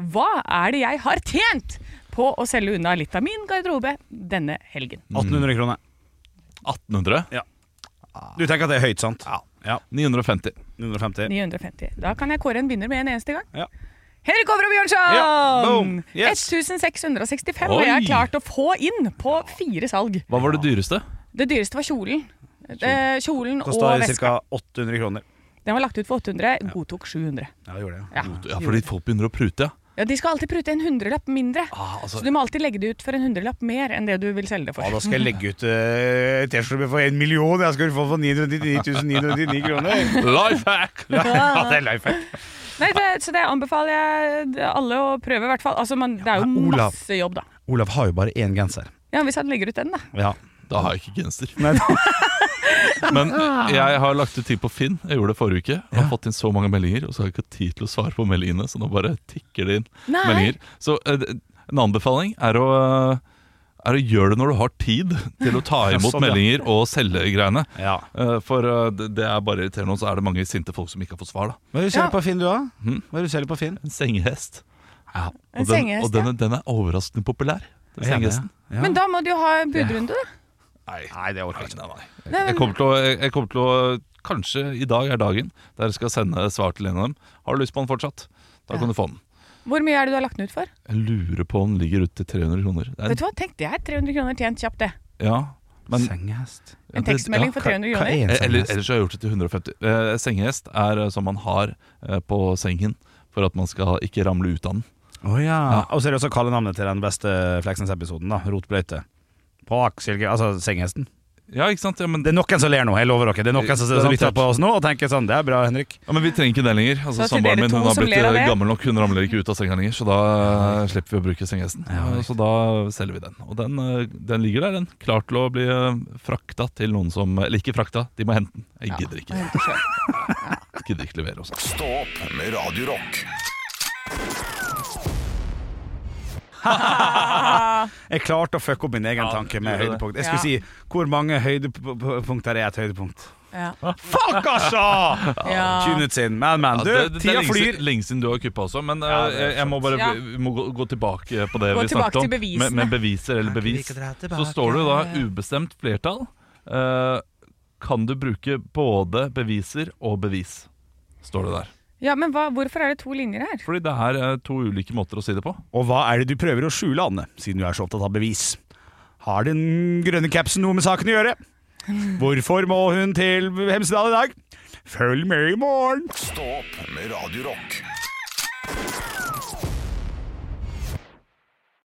[SPEAKER 5] hva er det jeg har tjent på å selge unna
[SPEAKER 4] Mm.
[SPEAKER 5] litt av min garderobe denne helgen?
[SPEAKER 4] 1800 kroner.
[SPEAKER 3] 1800?
[SPEAKER 4] Ja. Du tenker at det er høyt, sant?
[SPEAKER 3] Ja.
[SPEAKER 4] ja
[SPEAKER 3] 950.
[SPEAKER 4] 950.
[SPEAKER 5] 950. Da kan jeg kåre en vinner med en eneste gang.
[SPEAKER 4] Ja.
[SPEAKER 5] Henrik Over og Bjørnson!
[SPEAKER 4] Ja, boom. Yes.
[SPEAKER 5] 1665
[SPEAKER 3] Oi.
[SPEAKER 5] har jeg klart å få inn på fire salg.
[SPEAKER 3] Hva var det dyreste?
[SPEAKER 5] Det dyreste var kjolen. Eh, Kjolen og
[SPEAKER 4] Kosta
[SPEAKER 5] veska.
[SPEAKER 4] ca. 800 kroner.
[SPEAKER 5] Den var lagt ut for 800, godtok 700.
[SPEAKER 4] Ja, det gjorde det. ja.
[SPEAKER 5] Ja.
[SPEAKER 3] Ja, fordi folk begynner å prute, ja.
[SPEAKER 5] Ja, De skal alltid prute en hundrelapp mindre.
[SPEAKER 4] Ah,
[SPEAKER 5] Så du må alltid legge det ut for en hundrelapp mer enn det du vil selge det for.
[SPEAKER 4] altså, Ja, Ah, da skal jeg legge ut eh, T-skjorte for en million. Jeg skal få for 999 999 kroner.
[SPEAKER 3] Life hack!
[SPEAKER 4] *laughs* Ja, det er life hack.
[SPEAKER 5] Nei, det, Så det anbefaler jeg alle å prøve, i hvert fall. Altså, man, det er jo
[SPEAKER 4] men Olav.
[SPEAKER 5] masse jobb, da.
[SPEAKER 4] Olav har jo bare én genser.
[SPEAKER 5] Ja, Hvis han legger ut den, da.
[SPEAKER 4] Ja.
[SPEAKER 3] Da har jeg ikke genser.
[SPEAKER 4] Nei,
[SPEAKER 3] *laughs* Men jeg har lagt ut tid på Finn. Jeg gjorde det forrige uke. Og har fått inn så mange meldinger, og så har jeg ikke hatt tid til å svare på meldingene. Så nå bare tikker det inn
[SPEAKER 5] Nei.
[SPEAKER 3] meldinger. Så eh, det- en anbefaling er å eh, er å gjøre det når du har tid til å ta
[SPEAKER 4] *laughs* Ja,
[SPEAKER 3] imot
[SPEAKER 4] sånn, ja.
[SPEAKER 3] meldinger og selge greiene.
[SPEAKER 4] Ja.
[SPEAKER 3] Eh, For eh, det det er bare irriterende, og så er det mange sinte folk som ikke har fått svar. da
[SPEAKER 4] Hva er det du selger
[SPEAKER 5] Ja.
[SPEAKER 4] på Finn, du, da?
[SPEAKER 3] Hm?
[SPEAKER 4] Hva er det du selger på Finn?
[SPEAKER 3] En sengehest.
[SPEAKER 5] En
[SPEAKER 3] og den,
[SPEAKER 5] sengehest,
[SPEAKER 3] og den, er- den er overraskende populær. Den sengehesten.
[SPEAKER 4] Ja.
[SPEAKER 5] Men da må du jo ha en budrunde, da.
[SPEAKER 3] Nei,
[SPEAKER 4] Nei, det orker jeg ikke.
[SPEAKER 3] Nei, nei.
[SPEAKER 5] Nei,
[SPEAKER 3] Jeg
[SPEAKER 5] men-
[SPEAKER 3] kommer til å, jeg jeg kommer til å Kanskje i dag er dagen der jeg skal sende svar til en av dem. Har du lyst på den fortsatt? Da kan du få den.
[SPEAKER 5] Hvor mye er det du har lagt den ut for?
[SPEAKER 3] Jeg lurer på om den ligger ute til 300 kroner. Det er en-
[SPEAKER 5] Vet du hva, Tenk, det er 300 kroner tjent kjapt, det.
[SPEAKER 3] Ja, men,
[SPEAKER 4] Sengehest.
[SPEAKER 3] ja,
[SPEAKER 5] En
[SPEAKER 3] det-
[SPEAKER 5] tekstmelding
[SPEAKER 3] ja,
[SPEAKER 5] for
[SPEAKER 3] ka- Eh,
[SPEAKER 5] 300
[SPEAKER 4] Hva
[SPEAKER 5] kroner.
[SPEAKER 4] er en
[SPEAKER 3] Eller,
[SPEAKER 4] sengehest?
[SPEAKER 3] ellers har jeg gjort det til 150. Eh, sengehest er eh, som man har eh, på sengen for at man skal ikke ramle ut av den.
[SPEAKER 4] Å ja. Og så er det også kallenavnet til den beste Fleksnes-episoden, da. Rotbløyte. På Akselge, altså sengehesten.
[SPEAKER 3] Ja, ikke sant? Ja, men,
[SPEAKER 4] Det er noen som ler nå, jeg lover dere. Det er noen som
[SPEAKER 3] Det er
[SPEAKER 4] lytter
[SPEAKER 3] sant.
[SPEAKER 4] på oss nå og tenker sånn Det er bra, Henrik.
[SPEAKER 3] ja, men vi trenger ikke den lenger. Altså,
[SPEAKER 5] Så til
[SPEAKER 3] Samboeren
[SPEAKER 5] dere
[SPEAKER 3] min
[SPEAKER 5] to
[SPEAKER 3] hun har
[SPEAKER 5] som
[SPEAKER 3] blitt
[SPEAKER 5] ler av
[SPEAKER 3] eh,
[SPEAKER 5] det?
[SPEAKER 3] gammel nok, hun ramler ikke ut av senga lenger. Så da eh, slipper vi å bruke sengehesten. Eh, så da selger vi den. Og den, eh, den ligger der, den. Klar til å bli eh, frakta til noen som Eller ikke frakta, de må hente den. Jeg gidder ikke.
[SPEAKER 5] Hent og kjøp.
[SPEAKER 3] *laughs* Gidder ikke levere også.
[SPEAKER 6] Stå opp med Radio Rock.
[SPEAKER 4] Jeg klarte å fucke opp min egen
[SPEAKER 3] Ja,
[SPEAKER 4] tanke
[SPEAKER 3] du
[SPEAKER 4] med
[SPEAKER 3] gjorde det.
[SPEAKER 4] høydepunkt. Jeg skulle
[SPEAKER 5] Ja.
[SPEAKER 4] si hvor mange høydepunkter er et høydepunkt.
[SPEAKER 5] Ja.
[SPEAKER 4] Fuck, altså!
[SPEAKER 5] Ja.
[SPEAKER 4] 20 minutter siden. Men, men.
[SPEAKER 3] Ja,
[SPEAKER 4] Du,
[SPEAKER 3] det, det, det er
[SPEAKER 4] tida
[SPEAKER 3] lenge
[SPEAKER 4] flyr.
[SPEAKER 3] siden- lenge siden du har kuppa også, men eh,
[SPEAKER 4] Ja, det er
[SPEAKER 3] jeg, jeg må bare
[SPEAKER 5] sant.
[SPEAKER 3] vi må gå, gå tilbake på det
[SPEAKER 5] Gå
[SPEAKER 3] vi
[SPEAKER 5] tilbake
[SPEAKER 3] snakket om.
[SPEAKER 5] til bevisene.
[SPEAKER 3] Med, med beviser eller bevis. Så står det jo da ubestemt flertall. Eh, kan du bruke både beviser og bevis? Står det der.
[SPEAKER 5] ja, men hva, hvorfor er det to linjer her?
[SPEAKER 3] Fordi det er eh, to ulike måter å si det på.
[SPEAKER 4] Og hva er det du prøver å skjule, Anne, siden du er så opptatt av bevis? Har den grønne capsen noe med saken å gjøre? Hvorfor må hun til Hemsedal i dag? Følg med i morgen!
[SPEAKER 6] Stå opp med Radio Rock.